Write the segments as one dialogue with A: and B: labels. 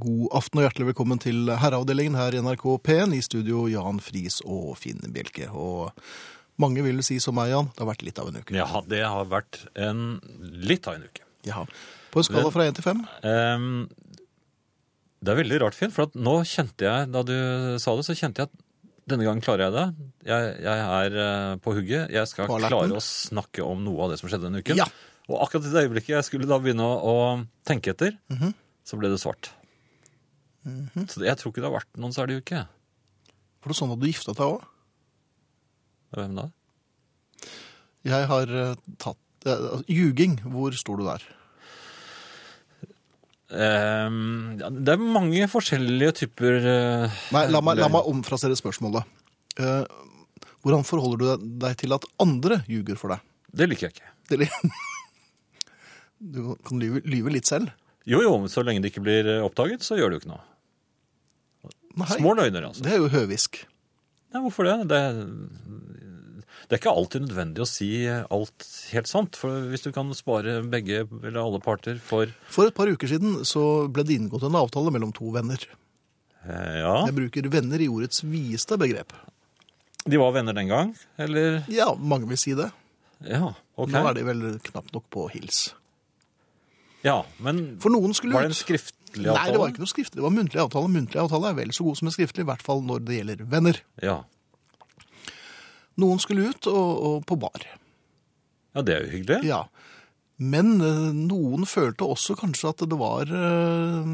A: God aften og hjertelig velkommen til Herreavdelingen her i NRK P1. I studio Jan Friis og Finn Bjelke. Og mange vil si som meg, Jan, det har vært litt av en uke.
B: Ja, det har vært en litt av en uke.
A: Jaha. På en skala fra én til fem?
B: Ehm, det er veldig rart, Finn, for at nå kjente jeg, da du sa det, så kjente jeg at denne gangen klarer jeg det. Jeg, jeg er eh, på hugget. Jeg skal
A: På alerten.
B: klare å snakke om noe av det som skjedde denne uken.
A: Ja.
B: Og akkurat i det øyeblikket jeg skulle da begynne å, å tenke etter,
A: Mhm.
B: så ble det svart. Så jeg tror ikke det har vært noen særlig uke.
A: For det er sånn at du gifta deg òg.
B: Hvem da?
A: Jeg har eh, tatt eh, Ljuging, hvor står du der?
B: Ehm, ja, det er mange forskjellige typer eh,
A: Nei, la meg, la meg omfrasere spørsmålet. Eh, hvordan forholder du deg- deg til at andre ljuger for deg?
B: Det liker jeg ikke.
A: Det er litt- Du kan lyve, lyve litt selv.
B: Jo, jo, men så lenge det ikke blir eh, oppdaget, så gjør det jo ikke noe.
A: Nei,
B: Små løgner, altså.
A: det er jo høvisk.
B: Nei, hvorfor det? det? Det er ikke alltid nødvendig å si eh, alt helt sant. For hvis du kan spare begge eller alle parter for
A: For et par uker siden så ble det inngått en avtale mellom to venner.
B: eh, Ja,
A: Jeg bruker venner i ordets videste begrep.
B: de var venner den gang, eller
A: Ja, mange vil si det.
B: Ja, OK.
A: Nå er de vel knapt nok på hils.
B: Ja, men
A: For noen skulle
B: var det en
A: ut.
B: skriftlig avtale?
A: Nei, det var ikke noe skriftlig. Det var muntlig avtale. Muntlig avtale er vel så god som en skriftlig, i hvert fall når det gjelder venner.
B: Ja.
A: Noen skulle ut og, og på bar.
B: ja, det er jo hyggelig.
A: Ja. Men eh, noen følte også kanskje at det var eh,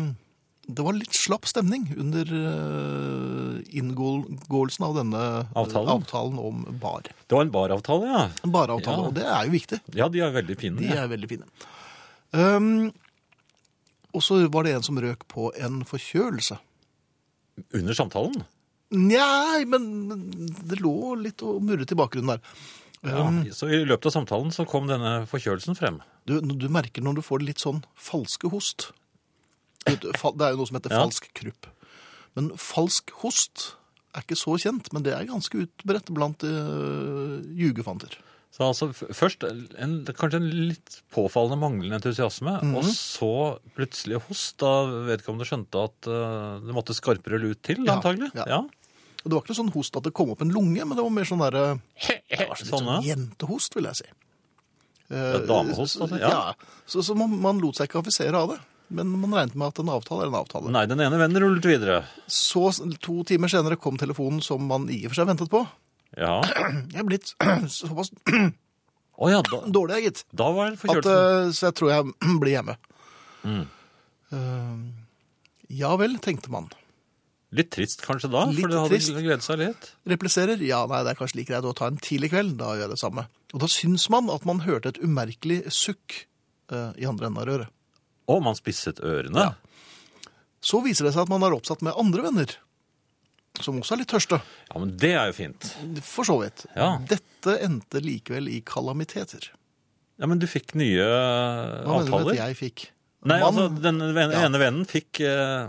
A: Det var litt slapp stemning under eh, inngåelsen av denne eh,
B: Avtalen?
A: avtalen om bar.
B: Det var en baravtale, ja.
A: En baravtale,
B: Ja.
A: og det er jo viktig.
B: Ja, de er veldig fine.
A: De
B: ja.
A: er veldig fine. Ehm, og så var det en som røk på en forkjølelse.
B: Under samtalen.
A: Nei, men det lå litt og murret i bakgrunnen der.
B: Ja. Så i løpet av samtalen så kom denne forkjølelsen frem.
A: Du, du merker når du får litt sånn falske host. Det er jo noe som heter
B: Ja.
A: falsk krupp. Men falsk host er ikke så kjent, men det er ganske utbredt blant øh, jugefanter.
B: Så altså f- først en, kanskje en litt påfallende manglende entusiasme, og
A: Mhm.
B: så plutselig host da vedkommende skjønte at eh, det måtte skarpere lut til,
A: Ja,
B: antagelig.
A: ja.
B: Ja.
A: Og det var ikke noe sånn host at det kom opp en lunge, men det var mer sånn derre Det var så litt
B: Sånne.
A: sånn jentehost, vil jeg si.
B: Ja, damehost, altså, ja.
A: Ja, så, så man, man lot seg ikke affisere av det. Men man regnet med at en avtale er en avtale.
B: Nei, den ene vennen rullet videre.
A: Så s- to timer senere kom telefonen som man i og for seg ventet på.
B: Ja. Å
A: Jeg er blitt såpass
B: ja, da,
A: dårlig, jeg, gitt,
B: da var
A: at, eh,
B: forkjølelsen.
A: så jeg tror jeg blir hjemme.
B: Mm.
A: Eh, ja vel, tenkte man.
B: Litt trist kanskje da,
A: litt
B: for det hadde
A: trist.
B: gledet seg litt.
A: Repliserer ja, nei, det er kanskje like greit å ta en tidlig kveld. Da gjør jeg det samme. Og da syns man at man hørte et umerkelig sukk eh, i andre enden av røret.
B: Og man spisset ørene. Ja.
A: Så viser det seg at man er oppsatt med andre venner, som også er litt tørste.
B: men det er jo fint.
A: For så vidt.
B: Ja.
A: Dette endte likevel i kalamiteter.
B: Ja, men du fikk nye eh,
A: Hva mener du
B: avtaler.
A: at jeg fikk?
B: Nei,
A: Man-
B: altså, den ven-
A: Ja.
B: ene vennen fikk, eh,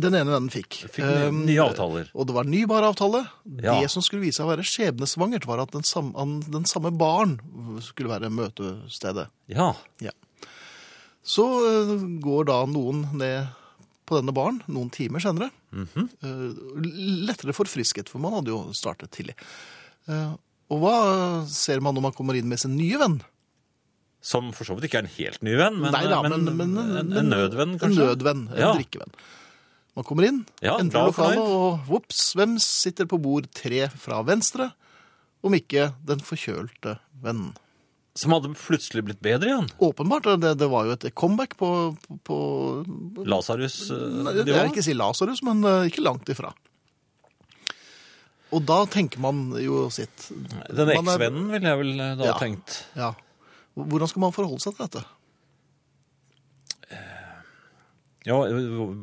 A: Den ene vennen fikk.
B: fikk nye,
A: Um,
B: nye avtaler.
A: Og det var en ny baravtale.
B: Ja.
A: Det som skulle vise seg å være skjebnesvangert, var at den samme, an- den samme baren skulle være møtestedet.
B: Ja,
A: Ja. Så eh, går da noen ned på denne baren noen timer senere.
B: Mhm.
A: Eh, lettere forfrisket, for man hadde jo startet tidlig. Eh, og hva eh, ser man når man kommer inn med sin nye venn?
B: Som for så vidt ikke er en helt ny venn, men,
A: Nei da,
B: men, en, en nødvenn,
A: En
B: kanskje?
A: nødvenn, en
B: Ja.
A: drikkevenn. Man kommer inn,
B: Ja,
A: entrer
B: glad og
A: lokalet,
B: fornøyd.
A: og whoops, hvem sitter på bord tre fra venstre? Om ikke den forkjølte vennen.
B: Som hadde plutselig blitt bedre igjen?
A: Åpenbart, eh, det, det var jo et comeback på, på
B: eh,
A: Nei, Jeg vil
B: Lasarus-nivå?
A: ikke si Lasarus, men eh, ikke langt ifra. Og da tenker man jo sitt.
B: Den
A: Man er-
B: eksvennen ville jeg vel eh, da
A: Ja.
B: tenkt.
A: Ja. Hvordan skal man forholde seg til dette?
B: Ja,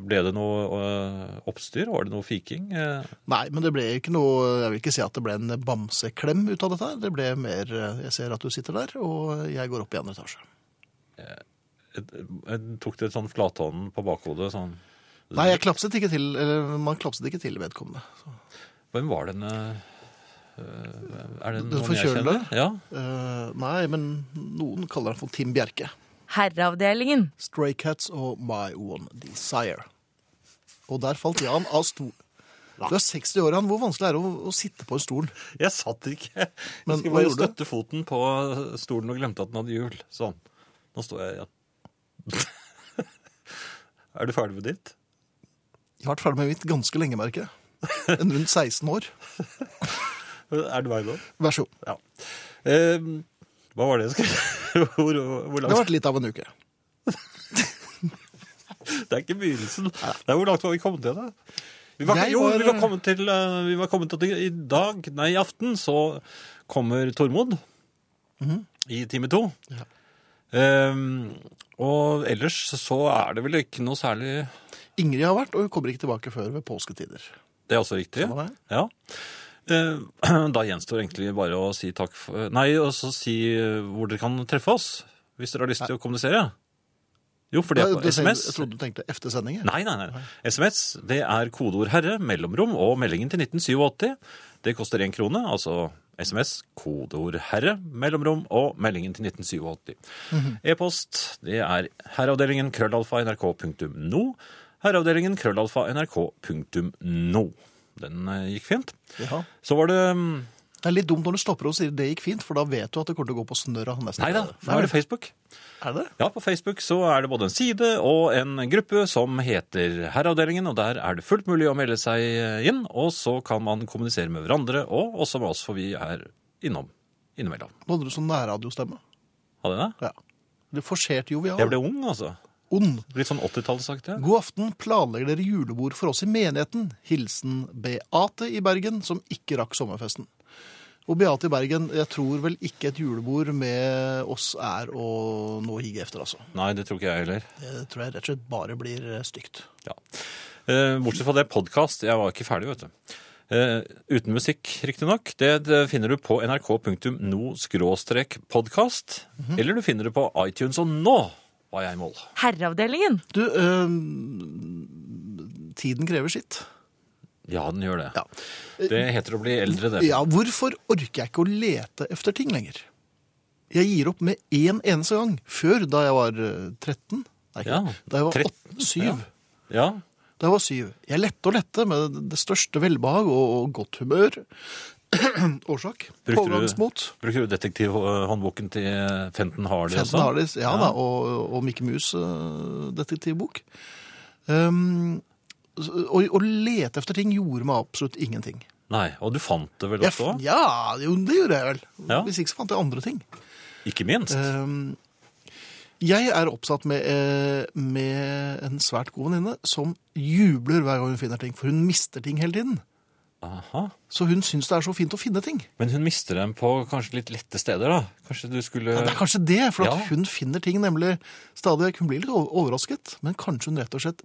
B: ble det noe eh, oppstyr? Var det noe fiking? Eh,
A: Nei, men det ble ikke noe Jeg vil ikke si at det ble en bamseklem ut av dette. her. Det ble mer eh, Jeg ser at du sitter der, og jeg går opp i andre etasje.
B: et- et- Tok det sånn flathånden på bakhodet? Sånn.
A: Nei, jeg klapset ikke til eller, Man klapset ikke til vedkommende.
B: Hvem var den eh, eh, Er det
A: Den
B: noen jeg kjenner?
A: forkjølede?
B: Ja.
A: Eh, nei, men noen kaller den for Tim Bjerke.
C: Herreavdelingen.
A: Stray Cats og My One Desire. Og der falt Jan av stol. Du er 60 år, Jan. Hvor vanskelig er det å, å sitte på en stol?
B: Jeg satt ikke. Jeg
A: Men
B: skulle
A: hva
B: bare
A: gjorde
B: støtte foten på stolen og glemte at den hadde hjul. Sånn. Nå står jeg igjen. er du ferdig med ditt?
A: Jeg har vært ferdig med mitt ganske lenge, merker jeg. En rundt 16 år.
B: Er det meg nå?
A: Vær så god.
B: Ja. Eh, hva var det jeg skulle hvor, hvor
A: Det har
B: langt?
A: vært litt av en uke.
B: Det er ikke begynnelsen. Det er hvor langt var vi kommet til, da? Vi var,
A: Jeg
B: jo,
A: var-
B: vi var kommet til, eh, vi var kommet til at i dag, nei, i aften, så kommer Tormod i time to.
A: Mhm. Ja.
B: Ehm, og ellers så er det vel ikke noe særlig
A: Ingrid har vært, og hun kommer ikke tilbake før ved påsketider.
B: Det er også riktig.
A: Samme det.
B: Ja. Eh, Da gjenstår egentlig bare å si takk for Nei, og så si eh, hvor dere kan treffe oss. Hvis dere har lyst til å kommunisere. Jo, for det er
A: Nei, du
B: på
A: tenkte-
B: SMS.
A: Jeg trodde du tenkte efter sendinger.
B: Nei, nei, nei. SMS, det er kodeord herre, mellomrom og meldingen til 1987. Det koster én krone, altså SMS, kodeord herre, mellomrom og meldingen til 1987. E-post, det er herreavdelingen krøllalfa nrk.no. Herreavdelingen krøllalfa nrk.no. Den eh, gikk fint.
A: Ja.
B: Så var det mm,
A: Det er litt dumt når du stopper og sier det gikk fint, for da vet du at det kommer til å gå på snørra nesten.
B: Nei da, nå er det Facebook.
A: Er det?
B: Ja, på Facebook så er det både en side og en gruppe som heter Herreavdelingen, og der er det fullt mulig å melde seg inn, og så kan man kommunisere med hverandre, og også med oss, for vi er innom, innimellom.
A: Nå hadde du sånn nærradiostemme.
B: Hadde jeg det?
A: Ja. Du forserte jovial.
B: Jeg ble ung, altså.
A: ond.
B: Litt sånn 80-tallsaktig.
A: God aften, planlegger dere julebord for oss i menigheten? Hilsen Beate i Bergen, som ikke rakk sommerfesten. Og Beate i Bergen, jeg tror vel ikke et julebord med oss er å nå hige efter, altså.
B: Nei, det tror ikke jeg heller.
A: Det tror jeg rett og slett bare blir stygt.
B: Ja. Eh, Bortsett fra det podkast. Jeg var ikke ferdig, vet du. Eh, uten musikk, riktignok. Det, det finner du på nrk.no-podkast. Eller du finner det på iTunes. Og nå var jeg i mål.
C: Herreavdelingen.
A: Du, øhm, tiden krever sitt.
B: Ja, den gjør det.
A: Ja.
B: Det heter å bli eldre, det.
A: ja, hvorfor orker jeg ikke å lete efter ting lenger? Jeg gir opp med én eneste gang. Før, da jeg var øh, 13. Nei, ikke.
B: Ja,
A: Da jeg var
B: 13,
A: 8, 7.
B: ja. Ja,
A: Da jeg var syv. Jeg lette og lette med det største velbehag og, og godt humør. Årsak.
B: Brukte du-
A: Pågangsmot.
B: Bruker du detektivhåndboken til 15 Harley også?
A: Fenton Harleys, ja, da, og, og Mikke eh, Mus-detektivbok. Um, og, å lete etter ting gjorde meg absolutt ingenting.
B: Nei, og du fant det vel
A: Jeg,
B: også?
A: f- ja, jo, det gjorde jeg vel.
B: Ja.
A: Hvis ikke så fant jeg andre ting.
B: Ikke minst.
A: Um, jeg er oppsatt med, eh, med en svært god venninne som jubler hver gang hun finner ting, for hun mister ting hele tiden.
B: Aha.
A: Så hun syns det er så fint å finne ting.
B: Men hun mister dem på kanskje litt lette steder, da? Kanskje du skulle
A: Ja, det er kanskje det, for at
B: Ja.
A: hun finner ting nemlig stadig vekk. Hun blir litt over- overrasket, men kanskje hun rett og slett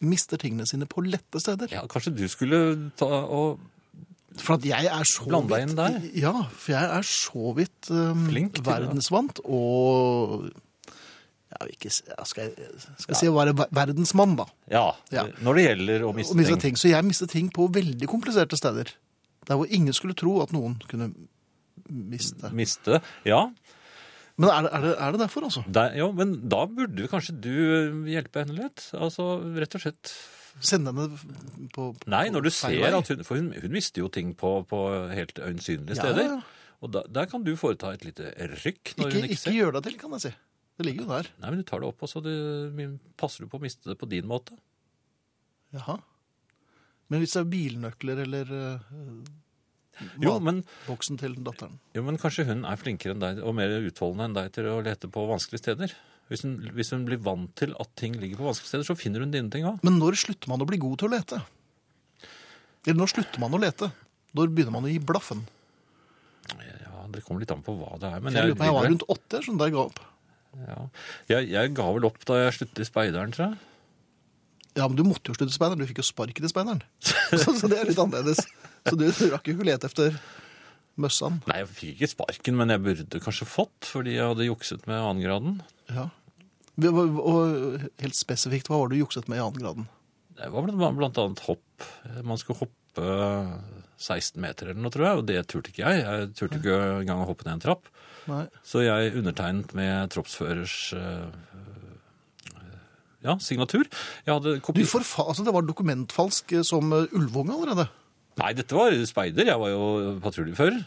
A: mister tingene sine på lette steder.
B: Ja, kanskje du skulle ta og
A: For at jeg er så
B: Blande
A: vidt
B: deg inn der.
A: Ja, for jeg er så vidt um,
B: Flink til det, da.
A: verdensvant og jeg vil ikke, si- ja, Skal jeg, skal jeg si å være ver- verdensmann, da?
B: Ja,
A: Ja.
B: når det gjelder å miste,
A: Og miste
B: ting.
A: ting. Så jeg mister ting på veldig kompliserte steder. Der hvor ingen skulle tro at noen kunne miste.
B: Miste, ja.
A: Men er det, er det, er det derfor, altså?
B: Der, jo, men da burde kanskje du hjelpe henne litt? Altså, rett og slett
A: Sende henne på, på
B: Nei, når du
A: feil vei.
B: ser at hun For hun, hun mister jo ting på, på helt øyensynlige
A: Ja,
B: steder.
A: ja, ja.
B: Og da, der kan du foreta et lite rykk. når
A: Ikke,
B: hun ikke
A: ikke
B: ser.
A: gjør deg til, kan jeg si. Det ligger jo der.
B: Nei, men Du tar det opp, og så du, passer du på å miste det på din måte.
A: Jaha. Men hvis det er bilnøkler eller eh,
B: Jo men,
A: matboksen til datteren
B: jo, men kanskje hun er flinkere enn deg og mer utholdende enn deg til å lete på vanskelige steder. Hvis hun, hvis hun blir vant til at ting ligger på vanskelige steder, så finner hun dine ting òg.
A: Men når slutter man å bli god til å lete? Eller når slutter man å lete? Når begynner man å gi blaffen?
B: Ja, det kommer litt an på hva det er. Men
A: Jeg
B: jeg,
A: lurer på jeg var
B: vil-
A: rundt åtte, sånn da jeg ga opp.
B: ja. jeg, jeg ga vel opp da jeg sluttet i speideren, tror jeg.
A: Ja, men du måtte jo slutte i speideren. Du fikk jo sparken i speideren. Så, så det er litt annerledes. Så du rakk jo ikke å lete etter møssan.
B: Nei, jeg fikk ikke sparken, men jeg burde kanskje fått, fordi jeg hadde jukset med annengraden.
A: Ja. Og og helt spesifikt, hva var det du jukset med i annen graden?
B: Det var blant, blant annet hopp. Man skulle hoppe 16 meter eller noe, tror jeg, og det turte ikke jeg. Jeg turte ikke engang å hoppe ned en trapp.
A: Nei.
B: Så jeg undertegnet med troppsførers eh, ja, signatur. Jeg hadde
A: Du,
B: kopi...
A: forfa- altså, det var dokumentfalsk eh, som eh, Ulvunge allerede.
B: Nei, dette var speider. Jeg var jo patruljefører.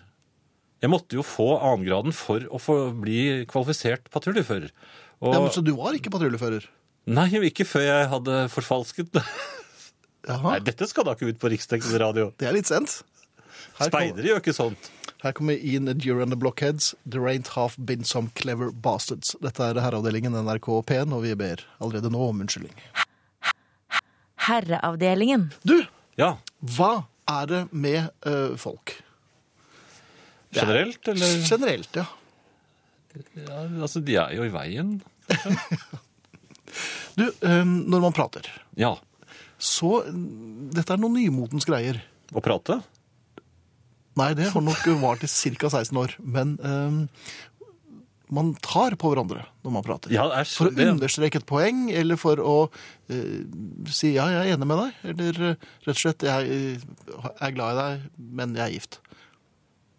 B: Jeg måtte jo få annengraden for å få bli kvalifisert patruljefører. Og...
A: Ja, men, så du var ikke patruljefører?
B: Nei, ikke før jeg hadde forfalsket det. Nei,
A: Jaha,
B: dette skal da ikke ut på Riksdekkens radio.
A: det er litt sent. Her, kom,
B: Speidere gjør ikke sånt.
A: her kommer Ian Edure and the Blockheads. There ain't half been some clever bastards. Dette er herreavdelingen NRK P1, og vi ber allerede nå om unnskyldning.
C: Herreavdelingen.
A: Du,
B: Ja,
A: hva er det med eh, folk?
B: generelt, eller?
A: Generelt, ja.
B: Ja, altså, de er jo i veien.
A: Du, eh, når man prater,
B: Ja,
A: så eh, Dette er noen nymotens greier.
B: å prate.
A: Nei, det har nok vart i ca. 16 år. Men eh, man tar på hverandre når man prater.
B: Ja, æsj,
A: For å
B: det-
A: understreke et poeng, eller for å eh, si ja, jeg er enig med deg. Eller eh, rett og slett, jeg eh, er glad i deg, men jeg er gift.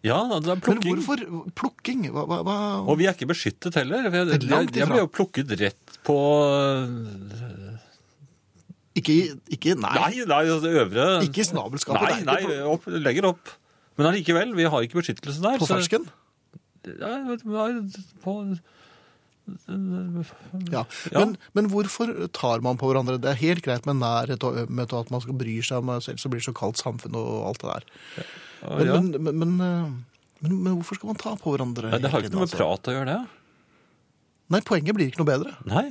B: Ja, det er
A: Men
B: plukking.
A: hvorfor plukking? Hva, hva, hva?
B: Og vi er ikke beskyttet heller. Jeg,
A: Det er
B: jeg,
A: langt
B: jeg ble
A: ifra.
B: jo plukket rett på eh,
A: Ikke, ikke nei,
B: Nei, nei, altså, det øvre
A: Ikke i snabelskapet.
B: Nei, nei,
A: Ikke
B: opp, legger opp. Men allikevel, vi har ikke beskyttelse der.
A: på, på
B: så-
A: fersken.
B: Ja, nei, på,
A: Ja.
B: Ja.
A: Men, men hvorfor tar man på hverandre? Det er helt greit med nærhet og ømhet og at man skal bry seg om selv, så blir det så kaldt samfunn og alt det der. Men,
B: ja.
A: men, men, men, eh, men, men hvorfor skal man ta på hverandre?
B: Nei, det har jo
A: hele
B: ikke
A: tiden,
B: noe med
A: altså?
B: prat å gjøre, det.
A: Nei, poenget blir ikke noe bedre.
B: Nei.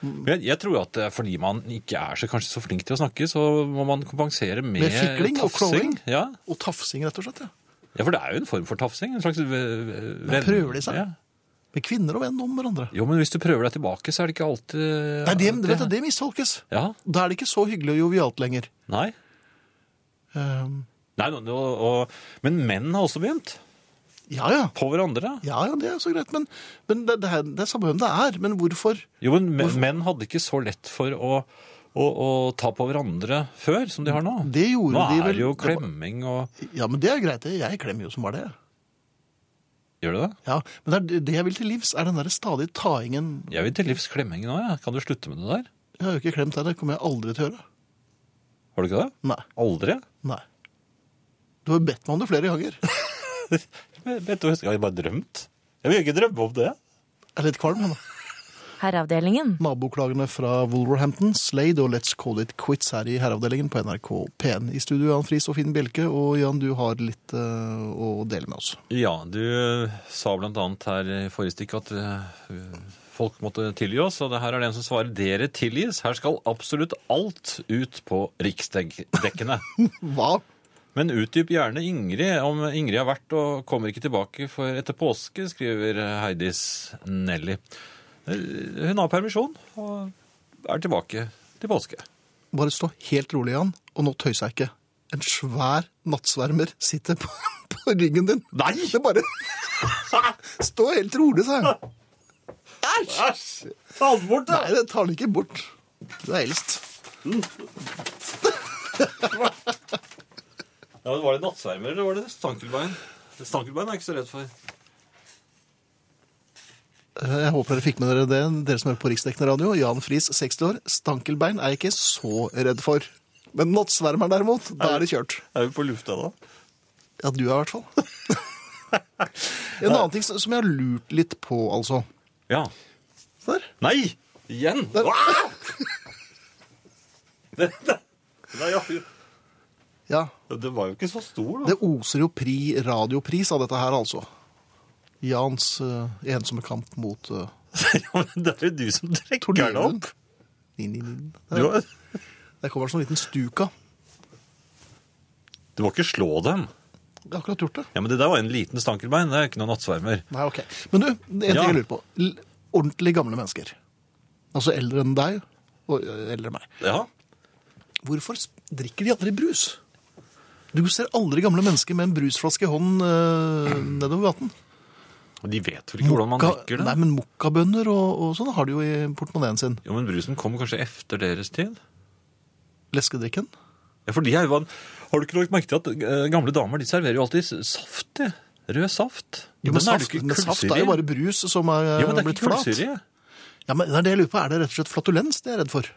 B: Men Jeg, jeg tror at eh, fordi man ikke er så, kanskje så flink til å snakke, så må man kompensere med,
A: Med fikling og
B: tafsing.
A: klåing?
B: Ja.
A: Og tafsing, rett og slett. Ja.
B: ja, for det er jo en form for tafsing. En slags eh, venn...
A: prøver de seg?
B: Ja.
A: Med kvinner og venn om hverandre.
B: Jo, men hvis du prøver deg tilbake, så er det ikke alltid
A: Nei, det, vet du, det mistolkes.
B: Ja,
A: Da er det ikke så hyggelig og jovialt lenger.
B: nei.
A: Ehm,
B: nei nå- nå- og, men menn har også begynt.
A: ja, ja.
B: På hverandre.
A: Ja, ja, det er så greit. Men, men det, det, er, det er samme hvem det er. Men hvorfor?
B: Jo, men men- menn hadde ikke så lett for å, å, å ta på hverandre før, som de har nå.
A: Det gjorde
B: nå
A: de
B: er
A: vel-
B: det jo klemming og
A: Ja, men det er greit. det. Jeg klemmer jo som bare det.
B: Gjør det det?
A: Ja, men det, er, det jeg vil til livs, er den der stadige taingen.
B: Jeg vil til livs klemming nå, jeg. Kan du slutte med det der?
A: Jeg har jo ikke klemt deg, det kommer jeg aldri til å gjøre.
B: Har du ikke det?
A: Nei.
B: Aldri?
A: Nei. Du har jo bedt meg om det flere ganger.
B: Vet du, jeg har bare drømt. Jeg vil ikke drømme om det.
A: Jeg er litt kvalm. men
C: Herreavdelingen.
A: Naboklagene fra Wolverhampton, Slade og Let's Call It Quits her i herreavdelingen på NRK P1. I studio Jan Friis og Finn Bjelke, og Jan, du har litt eh, å dele med oss.
B: Ja, du eh, sa blant annet her i forrige stikk at eh, folk måtte tilgi oss, og det her er det en som svarer dere tilgis. Her skal absolutt alt ut på riksdekkene.
A: Hva?
B: Men utdyp gjerne Ingrid om Ingrid har vært og kommer ikke tilbake for etter påske, skriver Heidis Nelly. Eh, Hun har permisjon og er tilbake til påske.
A: Bare stå helt rolig, Jan, og nå tøyser jeg ikke. En svær nattsvermer sitter på, på ryggen din. Nei! Det bare... Stå helt rolig, sa jeg.
B: Æsj! Ta den bort,
A: Nei, det tar den ikke bort. Du er eldst.
B: Ja, men Var det nattsvermer eller var det stankelbein? Stankelbein er jeg ikke så redd for.
A: Eh, Jeg håper dere fikk med dere det, dere som hører på Riksdekkende radio. Jan Friis, 60 år. Stankelbein er jeg ikke så redd for. Men nattsvermeren derimot, da er det kjørt.
B: Er vi på lufta da?
A: Ja, du er i hvert fall. En annen ting som jeg har lurt litt på, altså.
B: Ja.
A: Der.
B: Nei! Igjen!
A: Der.
B: Ah! Det, det, nei, ja,
A: Ja,
B: det var jo ikke så stor, da.
A: det oser jo pri, radiopris av dette her, altså. Jans eh, ensomme kamp mot uh,
B: ja, men det er jo du som trekker den opp.
A: Nin, nin, nin.
B: Du,
A: Der,
B: var-
A: der kommer det som en liten stuka.
B: du må ikke slå dem.
A: Jeg har akkurat gjort det.
B: Ja, men Det der var en liten stankelbein. Det er ikke noen nattsvermer.
A: Nei, ok. Men du, en ting
B: Ja.
A: jeg lurer på. L ordentlig gamle mennesker. Altså eldre enn deg, og ø, eldre enn meg.
B: Ja.
A: Hvorfor s- drikker de aldri brus? Du ser aldri gamle mennesker med en brusflaske i hånden ø, nedover gaten.
B: Og de vet vel ikke hvordan man
A: Mokka-
B: drikker
A: Nei,
B: det?
A: men mokkabønner og, og sånn har de jo i portemoneen sin.
B: Jo, men brusen kom kanskje efter deres tid?
A: Leskedrikken.
B: Ja, for de er jo vann. Har du ikke lagt merke til at eh, gamle damer de serverer jo alltid s- saft? de. Rød saft.
A: Jo,
B: Den
A: men
B: er det
A: saft,
B: ikke
A: men saft er
B: kullsyre i.
A: jo bare brus som er,
B: Jo, men det er
A: blitt
B: ikke
A: flat.
B: kullsyre i.
A: Ja, men det er det jeg lurer på. Er det rett og slett flatulens det er jeg redd for?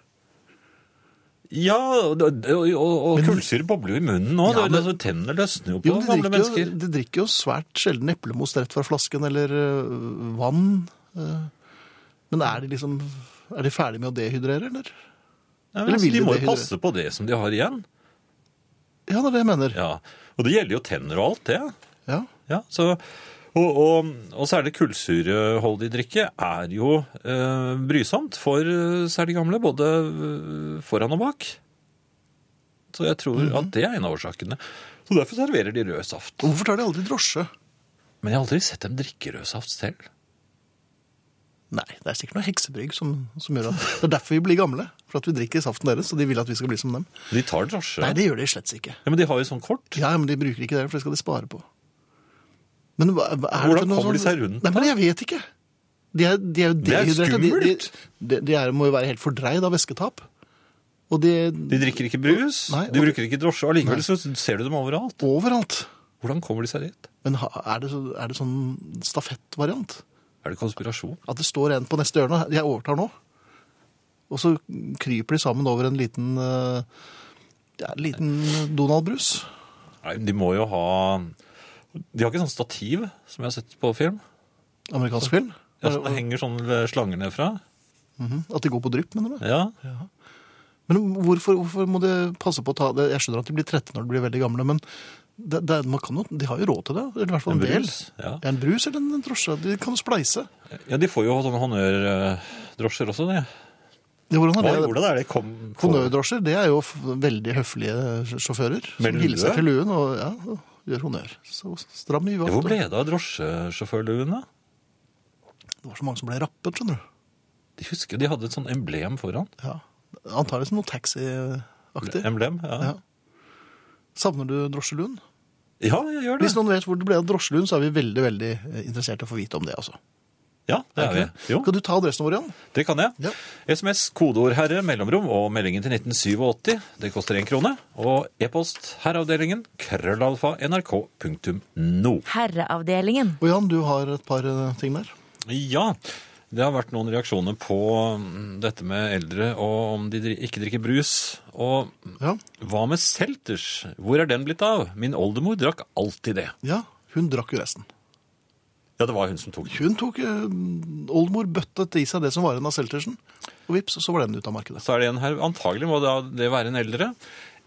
B: Ja, og, og, og kullsyre bobler jo i munnen nå.
A: Ja,
B: det-
A: men-
B: det- Tennene løsner jo på
A: Jo, men
B: gamle
A: de, drikker jo,
B: mennesker.
A: de drikker jo svært sjelden eplemos rett fra flasken, eller øh, vann. øh. men er de liksom Er de ferdig med å dehydrere, eller?
B: Nei, men,
A: eller
B: altså,
A: vil
B: de
A: de
B: må
A: det,
B: jo passe på det som de har igjen.
A: Ja, det er det jeg mener.
B: Ja, Og det gjelder jo tenner og alt det.
A: Ja.
B: Ja, så, og, og, og særlig kullsyreholdig drikke er jo eh, brysomt for eh, særlig gamle, både eh, foran og bak. Så jeg tror
A: Mhm.
B: at det er en av årsakene. Så derfor serverer de rød saft.
A: Og Hvorfor tar de aldri drosje?
B: Men jeg har aldri sett dem drikke rød saft selv.
A: Nei, det er sikkert noe heksebrygg som, som gjør at Det er derfor vi blir gamle. For at vi drikker saften deres, og de vil at vi skal bli som dem.
B: De tar drosje.
A: Nei, det gjør de slett ikke.
B: Ja, men de har jo sånn kort.
A: Ja, men de bruker ikke det, for det skal de spare på. Men hva, hva- er
B: Hvordan
A: det noe
B: kommer de
A: sånn-
B: seg rundt,
A: Nei, men jeg vet ikke. De er, de er jo
B: Det er
A: dehydrerte. De-
B: skummelt.
A: De, de, de er, må jo være helt fordreid av væsketap. Og de,
B: De drikker ikke brus,
A: Nei,
B: de
A: og-
B: bruker ikke drosje, og likevel så ser du dem overalt.
A: overalt.
B: Hvordan kommer de seg dit?
A: Men ha- er det, så- er det sånn stafettvariant?
B: Er det konspirasjon?
A: At det står en på neste hjørne, jeg overtar nå. Og så kryper de sammen over en liten, eh, ja, en liten Donald-brus.
B: Nei, de må jo ha De har ikke sånn stativ, som jeg har sett på film.
A: Amerikansk film.
B: Ja, så det henger sånn sånne slanger nedfra.
A: Mhm. At de går på drypp, mener du?
B: Ja.
A: Men hvorfor, hvorfor må de passe på å ta det? Jeg skjønner at de blir trette når de blir veldig gamle, men det, det, man kan jo, de har jo råd til det. Eller i hvert fall en,
B: En
A: del.
B: brus, ja.
A: En brus eller en drosje. De kan jo spleise.
B: ja, de får jo sånne honnørdrosjer også, de.
A: Det, hvordan
B: Hva,
A: er det?
B: hvordan er det? Kom, kom.
A: Honnørdrosjer det er jo f- veldig høflige sjåfører. Som
B: Med lue?
A: hilser til luen og, ja, og gjør honnør. Så stram i
B: Ja,
A: vakt.
B: Hvor
A: og-
B: ble det av drosjesjåførluene?
A: Det var så mange som ble rappet, skjønner du.
B: De husker de hadde et sånn emblem foran.
A: Ja. Antakelig som noe taxiaktig.
B: Emblem, ja.
A: Ja. Savner du drosjeluen?
B: Ja, jeg gjør det.
A: Hvis noen vet hvor det ble av drosjeluen, så er vi veldig veldig eh, interessert i å få vite om det. altså.
B: Ja, det er vi. Jo.
A: Skal du ta adressen vår igjen?
B: Det kan jeg.
A: Ja.
B: SMS, kodeord herre, mellomrom og meldingen til 1987. Det koster én krone. Og e-post herreavdelingen krøllalfa nrk.no.
C: Herreavdelingen.
A: Og Jan, du har et par eh, ting der.
B: Ja, det har vært noen reaksjoner på mm, dette med eldre og om de dri- ikke drikker brus. Og
A: Ja,
B: hva med selters? Hvor er den blitt av? Min oldemor drakk alltid det.
A: ja hun drakk jo resten.
B: Ja, det var hun som tok den.
A: Hun tok eh, Oldemor bøttet i seg det som var igjen av Seltersen, og vips, så var den ute av markedet.
B: Så er det en her, antagelig må da det være en eldre.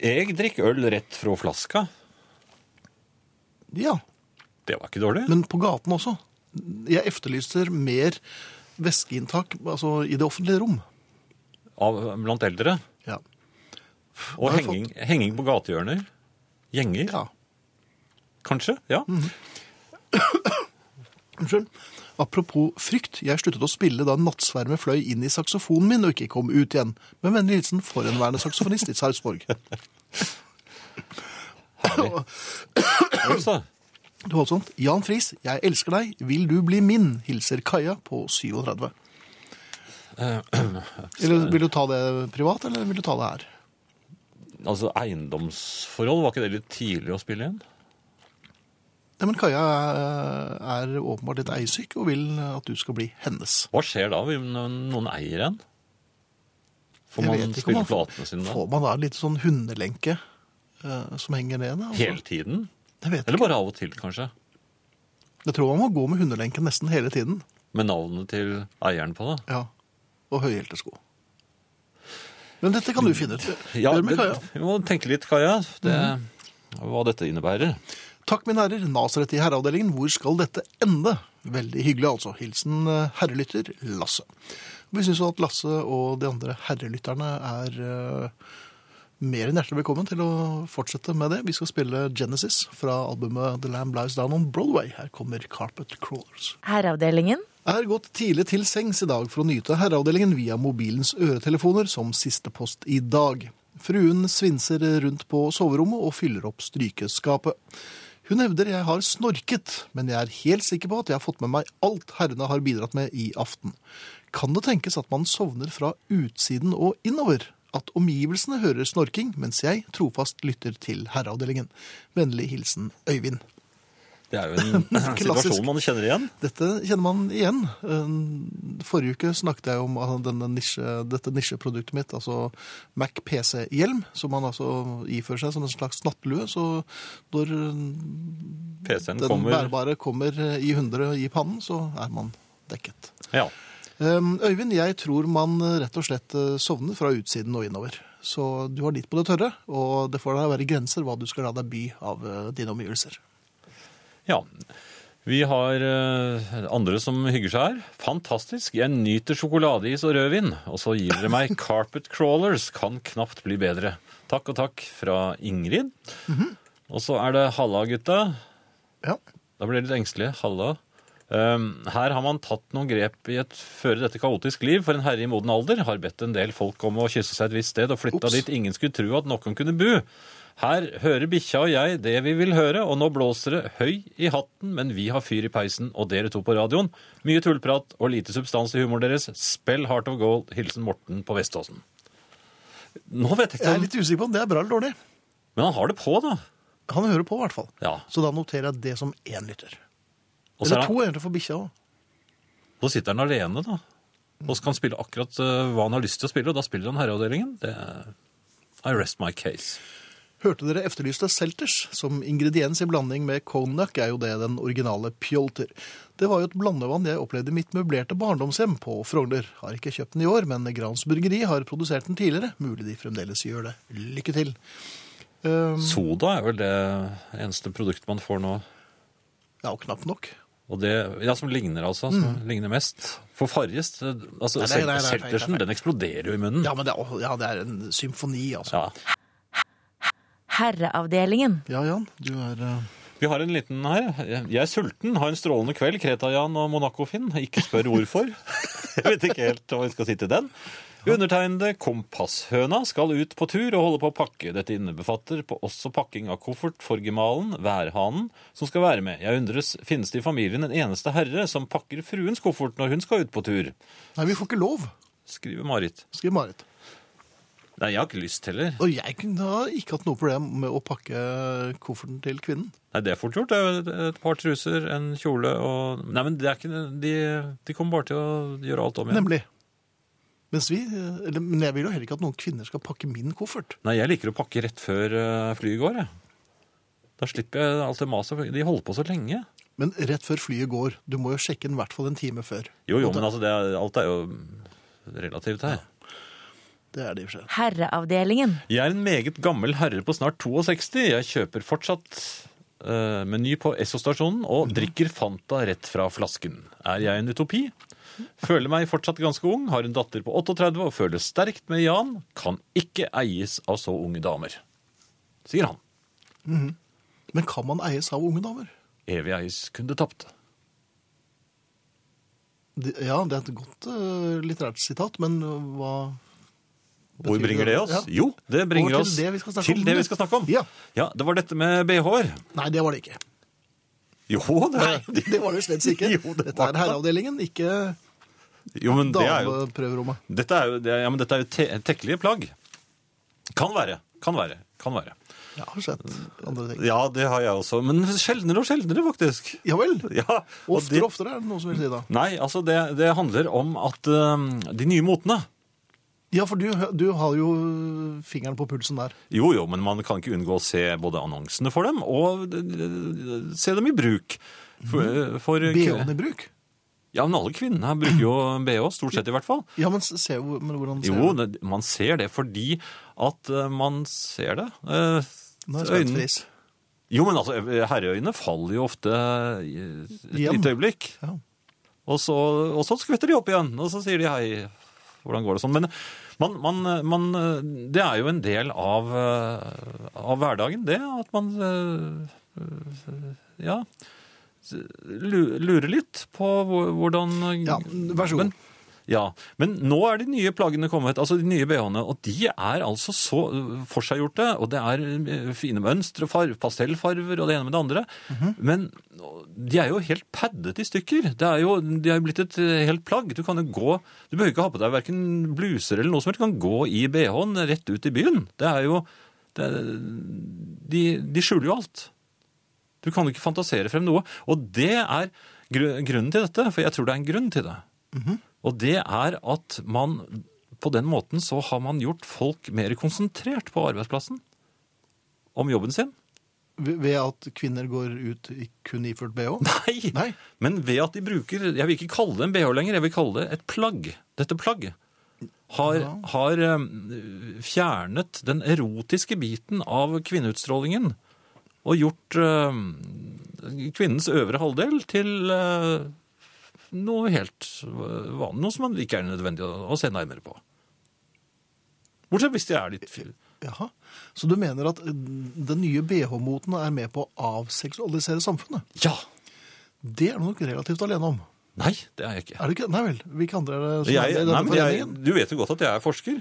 B: Jeg drikker øl rett fra flaska.
A: Ja,
B: Det var ikke dårlig.
A: men på gaten også. Jeg efterlyser mer væskeinntak altså, i det offentlige rom.
B: Av, blant eldre.
A: Ja.
B: Og
A: Har jeg
B: henging, henging på gatehjørner. Gjenger,
A: ja.
B: kanskje? Ja.
A: Unnskyld. Apropos frykt, jeg sluttet å spille da en nattsverme fløy inn i saksofonen min og ikke kom ut igjen. Med vennlig hilsen forhenværende saksofonist i Sarpsborg.
B: Øl, så.
A: Det var sånt. Jan Friis, jeg elsker deg. Vil du bli min? Hilser Kaja på 37.
B: Eh,
A: Eller vil du ta det privat, eller vil du ta det her?
B: Altså, eiendomsforhold, var ikke det litt tidlig å spille igjen?
A: Nei, men Kaja eh, er åpenbart litt eiesyk og vil at du skal bli hennes.
B: Hva skjer da hvis noen eier en? Får
A: Jeg
B: man
A: vet ikke om
B: spille
A: man får-
B: platene sine da?
A: Får man da en liten sånn hundelenke eh, som henger ned? da?
B: Hele tiden?
A: Jeg vet
B: Eller
A: ikke.
B: bare av og til, kanskje?
A: Jeg tror man må gå med hundelenke nesten hele tiden.
B: Med navnet til eieren på det?
A: Ja. Og høyhælte sko. Men dette kan du finne ut.
B: Ja,
A: Gjør med
B: det-
A: Kaja. Mhm.
B: Vi må tenke litt, Kaja, det, hva dette innebærer.
A: Takk, mine herrer. Nasaret i herreavdelingen. Hvor skal dette ende? Veldig hyggelig, altså. Hilsen eh, herrelytter Lasse. Vi syns at Lasse og de andre herrelytterne er eh, mer enn hjertelig velkommen til å fortsette med det. Vi skal spille Genesis fra albumet The Lamb Lies Down on Broadway. Her kommer Carpet Crawlers.
C: Herreavdelingen.
A: Er gått tidlig til sengs i dag for å nyte herreavdelingen via mobilens øretelefoner som siste post i dag. Fruen svinser rundt på soverommet og fyller opp strykeskapet. Hun hevder jeg har snorket, men jeg er helt sikker på at jeg har fått med meg alt herrene har bidratt med i aften. Kan det tenkes at man sovner fra utsiden og innover? At omgivelsene hører snorking, mens jeg trofast lytter til herreavdelingen. Vennlig hilsen Øyvind.
B: Det er jo en
A: Klassisk.
B: situasjon man kjenner igjen.
A: Dette kjenner man igjen. Eh, Forrige uke snakket jeg om ah, denne nisje, dette nisjeproduktet mitt, altså Mac PC-hjelm, som man altså ifører seg som en slags nattlue. Så når
B: PC-en
A: den
B: kommer.
A: bærbare kommer i hundre i pannen, så er man dekket.
B: Ja.
A: Um, Øyvind, jeg tror man eh, rett og slett eh, sovner fra utsiden og innover. Så du har litt på det tørre, og det får da være grenser hva du skal la deg by av eh, dine omgivelser.
B: ja. Vi har eh, andre som hygger seg her. Fantastisk. Jeg nyter sjokoladeis og rødvin. Og så gir dere meg Carpet Crawlers. Kan knapt bli bedre. Takk og takk fra Ingrid. Og så er det halla, gutta.
A: Ja.
B: Da ble jeg litt engstelig. Halla. Ehm, her har man tatt noen grep i et føre dette kaotisk liv, for en herre i moden alder har bedt en del folk om å kysse seg et visst sted og flytta
A: Ops.
B: dit ingen skulle tro at noen kunne bu. Her hører bikkja og jeg det vi vil høre, og nå blåser det høy i hatten, men vi har fyr i peisen, og dere to på radioen. Mye tullprat og lite substans i humoren deres. Spell Heart of Gold. Hilsen Morten på Veståsen. Nå vet
A: Jeg
B: jeg ikke
A: er
B: om
A: litt usikker på om det er bra eller dårlig.
B: Men han har det på, da.
A: Han hører på, i hvert fall.
B: Ja.
A: Så da noterer jeg det som én lytter.
B: Og så er
A: Eller
B: han-
A: to egentlig for bikkja òg.
B: Da sitter han alene, da. Og så kan han spille akkurat eh, hva han har lyst til å spille, og da spiller han herreavdelingen. Det er I rest my case.
A: Hørte dere efterlyste Selters som ingrediens i blanding med cognac, er jo det den originale Pjolter. Det var jo et blandevann jeg opplevde i mitt møblerte barndomshjem på Frogner. Har ikke kjøpt den i år, men Grans Burgeri har produsert den tidligere. Mulig de fremdeles gjør det. Lykke til. Um,
B: Soda er vel det eneste produktet man får nå.
A: ja, og knapt nok.
B: Og det, ja, Som ligner, altså. Som ligner mest. For Farris eh, altså,
A: Mm. Nei, nei, nei, nei, feil,
B: Seltersen,
A: feil.
B: den eksploderer jo i munnen.
A: Ja, men det er, ja, det er en symfoni, altså.
B: Ja.
C: Herreavdelingen.
A: Ja, Jan, du er uh,
B: Vi har en liten her. Jeg er sulten, har en strålende kveld, Kreta-Jan og Monaco-Finn. Ikke spør hvorfor. Jeg vet ikke helt hva vi skal si til den. Undertegnede Kompasshøna skal ut på tur og holde på å pakke. Dette innebefatter på også pakking av koffert for gemalen, værhanen, som skal være med. Jeg undres, finnes det i familien en eneste herre som pakker fruens koffert når hun skal ut på tur?
A: Nei, vi får ikke lov,
B: Skriver Marit.
A: skriver Marit.
B: Nei, jeg har ikke lyst heller.
A: Og jeg kunne da ikke hatt noe problem med å pakke kofferten til kvinnen.
B: Nei, det er fort gjort. Det er Et par truser, en kjole og Nei, men det er ikke De, de kommer bare til å gjøre alt om igjen.
A: Nemlig. Mens vi, eller, men jeg vil jo heller ikke at noen kvinner skal pakke min koffert.
B: Nei, jeg liker å pakke rett før eh, flyet går, jeg. Da slipper jeg alt det maset. for De holder på så lenge.
A: Men rett før flyet går, du må jo sjekke den i hvert fall en time før.
B: Jo, jo, men altså, det er, alt er jo relativt her.
A: Det er det i og for seg.
C: Herreavdelingen.
B: Jeg er en meget gammel herre på snart 62. Jeg kjøper fortsatt eh, meny på Esso-stasjonen og drikker Fanta rett fra flasken. Er jeg en utopi? Føler meg fortsatt ganske ung, har en datter på 38 og føler sterkt med Jan. Kan ikke eies av så unge damer. Sier han.
A: Men kan man eies av unge damer?
B: Evig eies kunne tapt.
A: Det- Ja, det er et godt eh, litterært sitat, men eh, hva
B: Hvor
A: betyr
B: bringer det oss?
A: Ja.
B: Jo, det bringer
A: Over til
B: oss
A: det vi skal snakke
B: til
A: om
B: det
A: nå.
B: vi skal snakke om.
A: Ja.
B: det var dette med BH-er.
A: Nei, det var det ikke.
B: Jo, det,
A: Nei, det var det slett ikke.
B: Jo, det
A: Dette
B: var
A: er herreavdelingen, ikke
B: jo, men det er jo,
A: dameprøverommet.
B: dette er jo, det er, ja, men dette er jo te tekkelige plagg. Kan være, kan være, kan være.
A: Jeg har sett andre ting.
B: Ja, det har jeg også, men sjeldnere og sjeldnere faktisk.
A: Ja vel.
B: Ja, og
A: Oftere
B: det,
A: og oftere er det noen som vil si da.
B: nei, altså det, det handler om at eh, de nye motene,
A: Ja, for du, du har jo fingeren på pulsen der.
B: Jo, jo, men man kan ikke unngå å se både annonsene for dem og eh, se dem i bruk. For, eh, for
A: BH-en i bruk.
B: Ja, men alle kvinnene bruker jo BH, stort sett i hvert fall.
A: Ja, men se jo- men hvordan ser
B: Jo,
A: du?
B: det- man ser det fordi at eh, man ser det. Eh,
A: Nå er jeg spent,
B: øynene-
A: Friis.
B: Jo, men altså, herreøyne faller jo ofte eh, i et
A: Igjen.
B: lite øyeblikk.
A: Ja.
B: Og så, og så skvetter de opp igjen, og så sier de hei, hvordan går det sånn? Men man, man, man, eh, det er jo en del av, eh, av hverdagen, det, at man eh, eh, ja, s- lu- lurer litt på hvor- hvordan
A: Ja, vær så god.
B: Men, ja, men nå er de nye plaggene kommet, altså de nye BH-ene, og de er altså så øh, forseggjorte, og det er øh, fine mønstre, og farv, pastellfarver og det ene med det andre.
A: Mhm.
B: Men å, de er jo helt paddet i stykker. Det er jo, de er jo blitt et øh, helt plagg. Du kan jo gå, du behøver ikke ha på deg hverken bluser eller noe som helst, du kan gå i BH-en rett ut i byen. Det er jo, det, er- de, de skjuler jo alt. Du kan jo ikke fantasere frem noe. Og det er gru- grunnen til dette, for jeg tror det er en grunn til det. Og det er at man på den måten så har man gjort folk mer konsentrert på arbeidsplassen om jobben sin.
A: Ved ved at kvinner går ut i- kun iført bh?
B: Nei!
A: Nei.
B: Men ved at de bruker Jeg vil ikke kalle det en BH lenger, jeg vil kalle det et plagg. Dette plagg har, har eh, fjernet den erotiske biten av kvinneutstrålingen og gjort eh, kvinnens øvre halvdel til eh, noe helt vanlig, noe som man ikke er nødvendig å, å se nærmere på. Bortsett hvis de er litt fyr.
A: Jaha. Så du mener at eh, den nye bh-moten er med på å avseksualisere samfunnet?
B: Ja!
A: Det er du nok relativt alene om.
B: Nei, det er jeg ikke.
A: Er det ikke? Nei vel. Hvilke andre er det som
B: Jeg,
A: er med i
B: nei,
A: denne
B: men jeg,
A: foreningen?
B: du vet jo godt at jeg er forsker.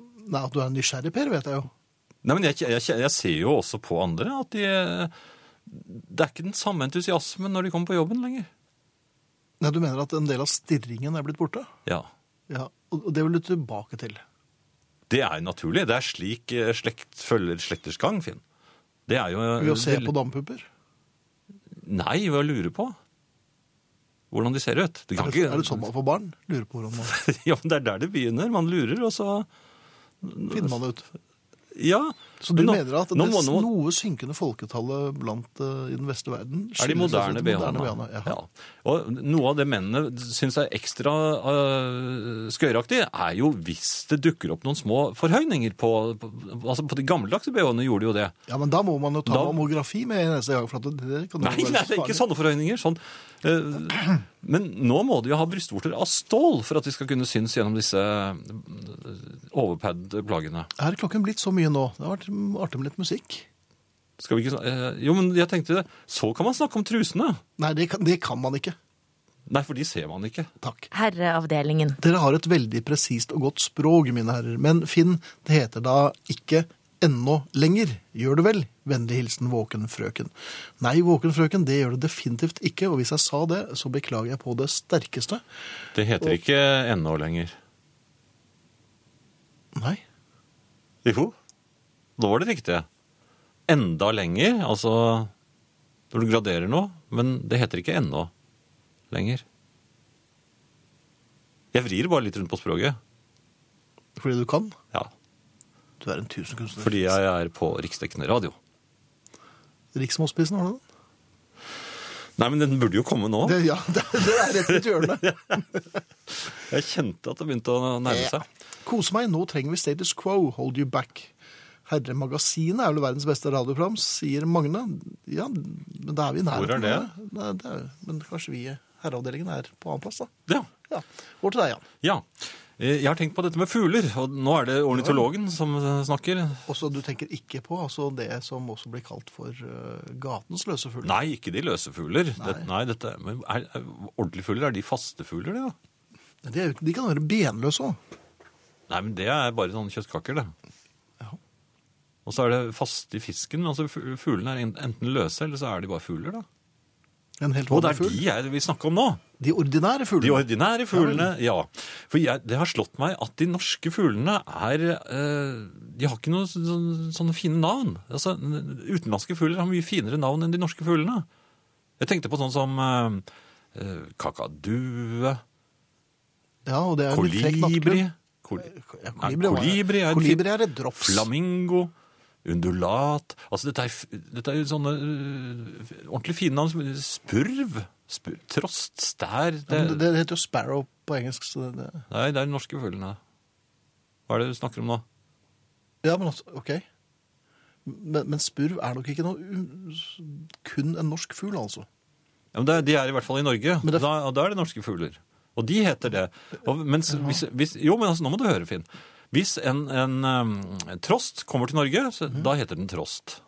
A: Nei, at du er en nysgjerrig per, vet jeg jo.
B: Nei, men jeg, jeg, jeg ser jo også på andre at de, det er ikke den samme entusiasmen når de kommer på jobben lenger.
A: Nei, Du mener at en del av stirringen er blitt borte?
B: Ja,
A: Ja, Og og det vil du tilbake til.
B: Det er jo naturlig. Det er slik eh, slekt følger slekters gang, Finn. Det er jo
A: Ved å se
B: det-
A: på damepupper?
B: Nei, ved å lure på hvordan de ser ut. Du
A: Er
B: kan
A: det,
B: ikke,
A: er det sånn man får barn? Lurer på hvordan man
B: Ja, men Det er der det begynner. Man lurer, og så
A: finner man det ut.
B: Ja.
A: Så du
B: Nå-
A: mener at
B: nå
A: det
B: må- nå-
A: noe synkende folketallet blant, eh, i den vestlige verden
B: er de
A: skyldes
B: moderne
A: altså de moderne
B: BH-ene.
A: BH-ene,
B: Ja.
A: Ja.
B: Og noe av det mennene syns er ekstra øh, skøyeraktig, er jo hvis det dukker opp noen små forhøyninger på, på Altså på de gammeldagse BH-ene gjorde de jo det.
A: ja, men da må man jo ta
B: Da-
A: mammografi med neste gang. For at det, det kan jo
B: Nei,
A: være
B: nei, det er ikke
A: farlig.
B: sånne forhøyninger. Sånn. øh, Men nå må de jo ha brystvorter av stål for at de skal kunne synes gjennom disse øh, overpad-plagene.
A: Er klokken blitt så mye nå? Det har vært artig med litt musikk.
B: Skal vi ikke snak- øh, Jo, men jeg tenkte Så kan man snakke om trusene.
A: Nei, det kan, det kan man ikke.
B: Nei, for de ser man ikke.
A: Takk.
C: Herreavdelingen.
A: Dere har et veldig presist og godt språk, mine herrer. Men Finn, det heter da ikke ennå lenger. Gjør det vel? Vennlig hilsen våken frøken. Nei, våken frøken, det gjør det definitivt ikke. Og hvis jeg sa det, så beklager jeg på det sterkeste.
B: Det heter ikke ennå lenger.
A: Nei.
B: Jo, da var det riktig. Enda lenger, altså når du graderer noe, men det heter ikke ennå lenger. Jeg vrir bare litt rundt på språket.
A: Fordi du kan?
B: Ja,
A: Du er en tusenkunstner.
B: fordi jeg er på riksdekkende radio.
A: Riksmålsprisen, har du den?
B: Nei, men den burde jo komme nå.
A: Det, ja, det, det er rett rundt hjørnet.
B: Jeg kjente at det begynte å nærme seg.
A: Eh, Kose meg, nå trenger vi status quo, hold you back. Herremagasinet er vel verdens beste radioprogram, sier Magne. Ja, men da er vi i nærheten.
B: Hvor er det?
A: av Nei, det er, men kanskje vi i herreavdelingen er på annen plass, da.
B: Ja,
A: Ja. Over til deg, Jan.
B: ja. Eh, Jeg har tenkt på dette med fugler, og nå er det ornitologen som eh, snakker.
A: Også du tenker ikke på altså det som også blir kalt for eh, gatens løse fugl.
B: Nei, ikke de løse fugler. Nei, det, nei dette, men er, er, ordentlige fugler, er de faste fugler, det da?
A: De, er jo ikke- de kan være benløse òg.
B: Nei, men det er bare sånne kjøttkaker, det.
A: Ja.
B: Og så er det fast i fisken. altså fu- Fuglene er en- enten løse, eller så er de bare fugler, da.
A: En helt
B: Og det
A: vanlig
B: er
A: fugl.
B: de jeg vil snakke om nå.
A: De ordinære
B: De
A: fuglene.
B: ordinære fuglene, ja. For jeg, det har slått meg at de norske fuglene er eh, De har ikke noen sånne, sånne fine navn. Altså, n- Utenlandske fugler har mye finere navn enn de norske fuglene. Jeg tenkte på sånn som eh, eh, kakadue,
A: ja, og det er en litt frekk
B: kolibri
A: nattklubb.
B: Kol-
A: Ja,
B: Nei,
A: kolibri var-
B: Kolibri er en fin-
A: Kolibri er et drops.
B: Flamingo, undulat Altså, dette er, f- dette er jo sånne øh, ordentlig fine navn. som- Spurv, spurv trost, stær det,
A: Ja, men Det, det heter jo sparrow på engelsk. Så det, det.
B: Nei, det er de norske fuglene. Hva er det du snakker om nå?
A: Ja, men altså, ok. Men, men spurv er nok ikke noe, u- kun en norsk fugl, altså.
B: Ja, men det, er- de er i hvert fall i Norge.
A: Men det-
B: Da, da er det norske fugler. Og de heter det. Og, mens, hvis, hvis, jo, men altså, nå må du høre, Finn. Hvis en, en øhm, trost kommer til Norge, så,
A: Mhm.
B: da heter den trost.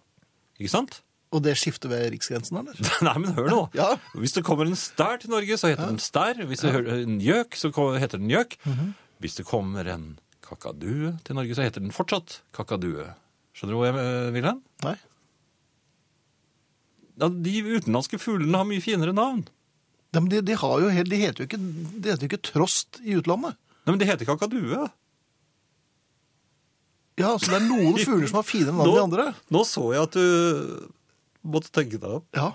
B: Ikke sant?
A: Og det skifter ved riksgrensen, eller?
B: Nei, men hør nå.
A: Ja.
B: Hvis det kommer en stær til Norge, så heter den stær. Hvis det hører en gjøk, så ko- heter den gjøk.
A: Mhm.
B: Hvis det kommer en kakadue til Norge, så heter den fortsatt kakadue. Skjønner du hvor jeg eh, vil hen?
A: Nei.
B: Ja, de utenlandske fuglene har mye finere navn.
A: Ja, men de, de, har jo helt, de heter jo ikke, de heter jo ikke trost i utlandet.
B: Nei, men de heter kakadue.
A: Ja, så det er noen fugler som har finere navn enn de andre.
B: nå så jeg at du eh, måtte tenke deg om.
A: Ja,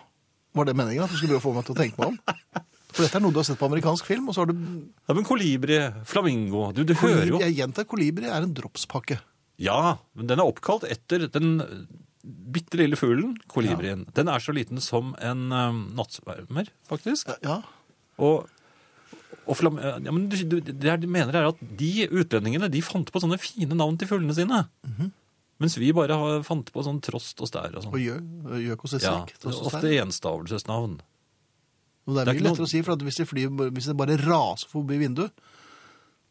A: Var det meningen at du skulle prøve å få meg til å tenke meg om? For dette er noe du har sett på amerikansk film, og så har du
B: Ja, men kolibri, flamingo Du, du hører jo
A: Jeg gjentar, kolibri er en dropspakke.
B: Ja, men den er oppkalt etter den eh, bitte lille fuglen, kolibrien. Den er så liten som en um, nattsvermer, faktisk.
A: Ja,
B: Og, og flam ja, men du, du, det jeg mener er at de utlendingene de fant på sånne fine navn til fuglene sine.
A: Mhm.
B: Mens vi bare har, fant på sånn trost og stær og
A: Og
B: sånn.
A: gjøk gjøk og
B: Ja,
A: sesik.
B: det
A: tross
B: er
A: og
B: ofte
A: stær.
B: enstavelsesnavn.
A: Og det er
B: det er
A: mye
B: ikke
A: lettere
B: noe-
A: å si, for at hvis, de flyr, hvis det bare raser forbi vinduet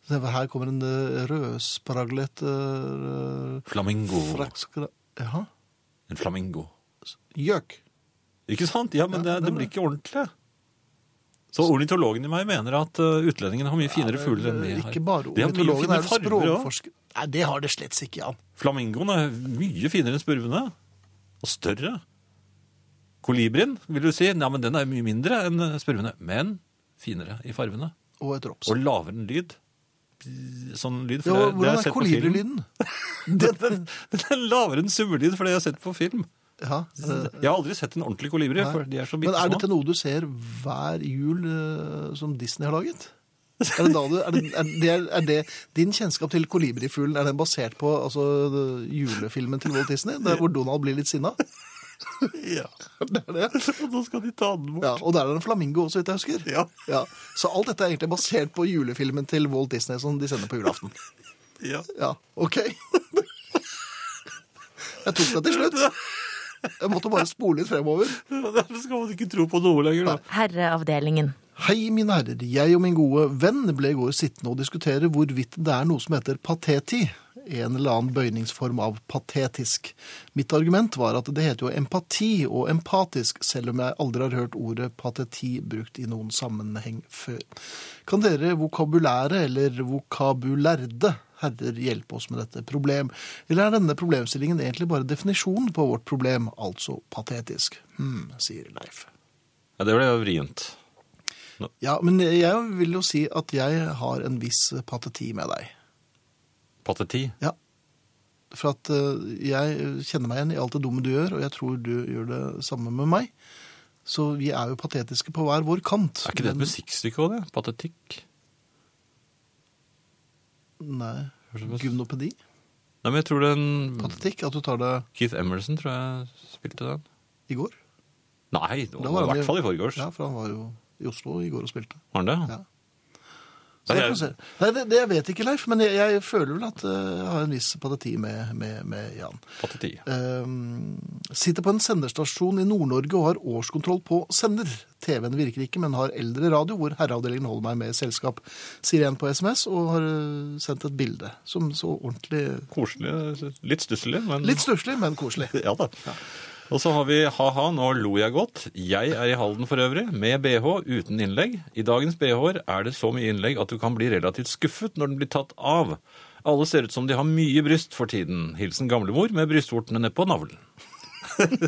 A: så tenker jeg, Her kommer en eh, rødspraglet uh,
B: Flamingo.
A: frakskra... Jaha.
B: En flamingo.
A: Gjøk.
B: Ikke sant? Ja, men
A: Ja,
B: det,
A: det
B: det
A: er
B: blir ikke ordentlig. Så ornitologen i meg mener at uh, utlendingene har mye finere fugler enn vi har.
A: Eh, Ikke bare
B: De har mye
A: ornitologen, det
B: fine
A: er jo
B: farver også.
A: språkforsker. Nei, det har det slett ikke, Jan.
B: Flamingoen er mye finere enn spurvene. Og større. Kolibrien, vil du si. Ja, men den er mye mindre enn spurvene. Men finere i farvene.
A: Og et drops.
B: Og lavere enn lyd. Sånn lyd,
A: Ja,
B: for det, det har
A: hvordan
B: jeg
A: er
B: sett på film.
A: kolibrilyden?
B: Den, den, den er lavere enn summelyd, for det jeg har sett på film.
A: Ja, eh, det-
B: Jeg har aldri sett en ordentlig kolibri,
A: Nei.
B: for de er så
A: Men
B: bitte
A: er dette
B: små.
A: noe du ser hver jul eh, som Disney har laget? Er det, da du, er, det, er, det, er det din kjennskap til kolibrifuglen er den basert på altså, julefilmen til Walt Disney, der hvor Donald blir litt sinna?
B: Ja.
A: Det er det.
B: Og nå skal de ta den bort.
A: Ja, og der er det en flamingo også, så vidt jeg husker.
B: Ja.
A: Ja. Så alt dette er egentlig basert på julefilmen til Walt Disney som de sender på julaften.
B: Ja.
A: Ja, ok. Jeg tok det til slutt. Jeg måtte bare spole litt fremover.
B: Derfor skal man ikke tro på noe lenger, da.
C: Herreavdelingen.
A: Hei, mine herrer. Jeg og min gode venn ble i går sittende og diskutere hvorvidt det er noe som heter pateti. En eller annen bøyningsform av patetisk. Mitt argument var at det heter jo empati og empatisk, selv om jeg aldri har hørt ordet pateti brukt i noen sammenheng før. Kan dere vokabulære eller vokabulærde herrer hjelpe oss med dette problem? Eller er denne problemstillingen egentlig bare definisjonen på vårt problem, altså patetisk? Hm, sier Leif.
B: Ja, det ble jo vrient.
A: Ja, men jeg vil jo si at jeg har en viss pateti med deg.
B: Pateti.
A: Ja. For at eh, jeg kjenner meg igjen i alt det dumme du gjør, og jeg tror du gjør det samme med meg. Så vi er jo patetiske på hver vår kant.
B: Er ikke det et
A: Men-
B: musikkstykke òg, det? Patetikk?
A: Nei. Gymnopedi?
B: Nei, men jeg tror den
A: Patetikk? At du tar det
B: Keith Emerson tror jeg spilte den.
A: i går?
B: Nei, det
A: Da
B: var i
A: han
B: hvert fall i forgårs.
A: Ja, for han var jo i Oslo i går og spilte.
B: Var den det?
A: Ja. Så
B: Nei,
A: jeg får
B: jeg-
A: se. Nei, det, det jeg vet ikke, Leif, men jeg, jeg føler vel at eh, jeg har en viss pateti med, med, med Jan.
B: Pateti.
A: Ehm, sitter på en senderstasjon i Nord-Norge og har årskontroll på sender. TV-en virker ikke, men har eldre radio hvor herreavdelingen holder meg med i selskap, sier en på SMS og har øh, sendt et bilde som så ordentlig
B: Koselig. Litt stusslig, men
A: Litt stusslig, men koselig.
B: Ja da. Og så har vi ha-ha, nå lo jeg godt. Jeg er i Halden for øvrig, med bh uten innlegg. I dagens bh-er er det så mye innlegg at du kan bli relativt skuffet når den blir tatt av. Alle ser ut som de har mye bryst for tiden. Hilsen gamlemor med brystvortene nedpå navlen.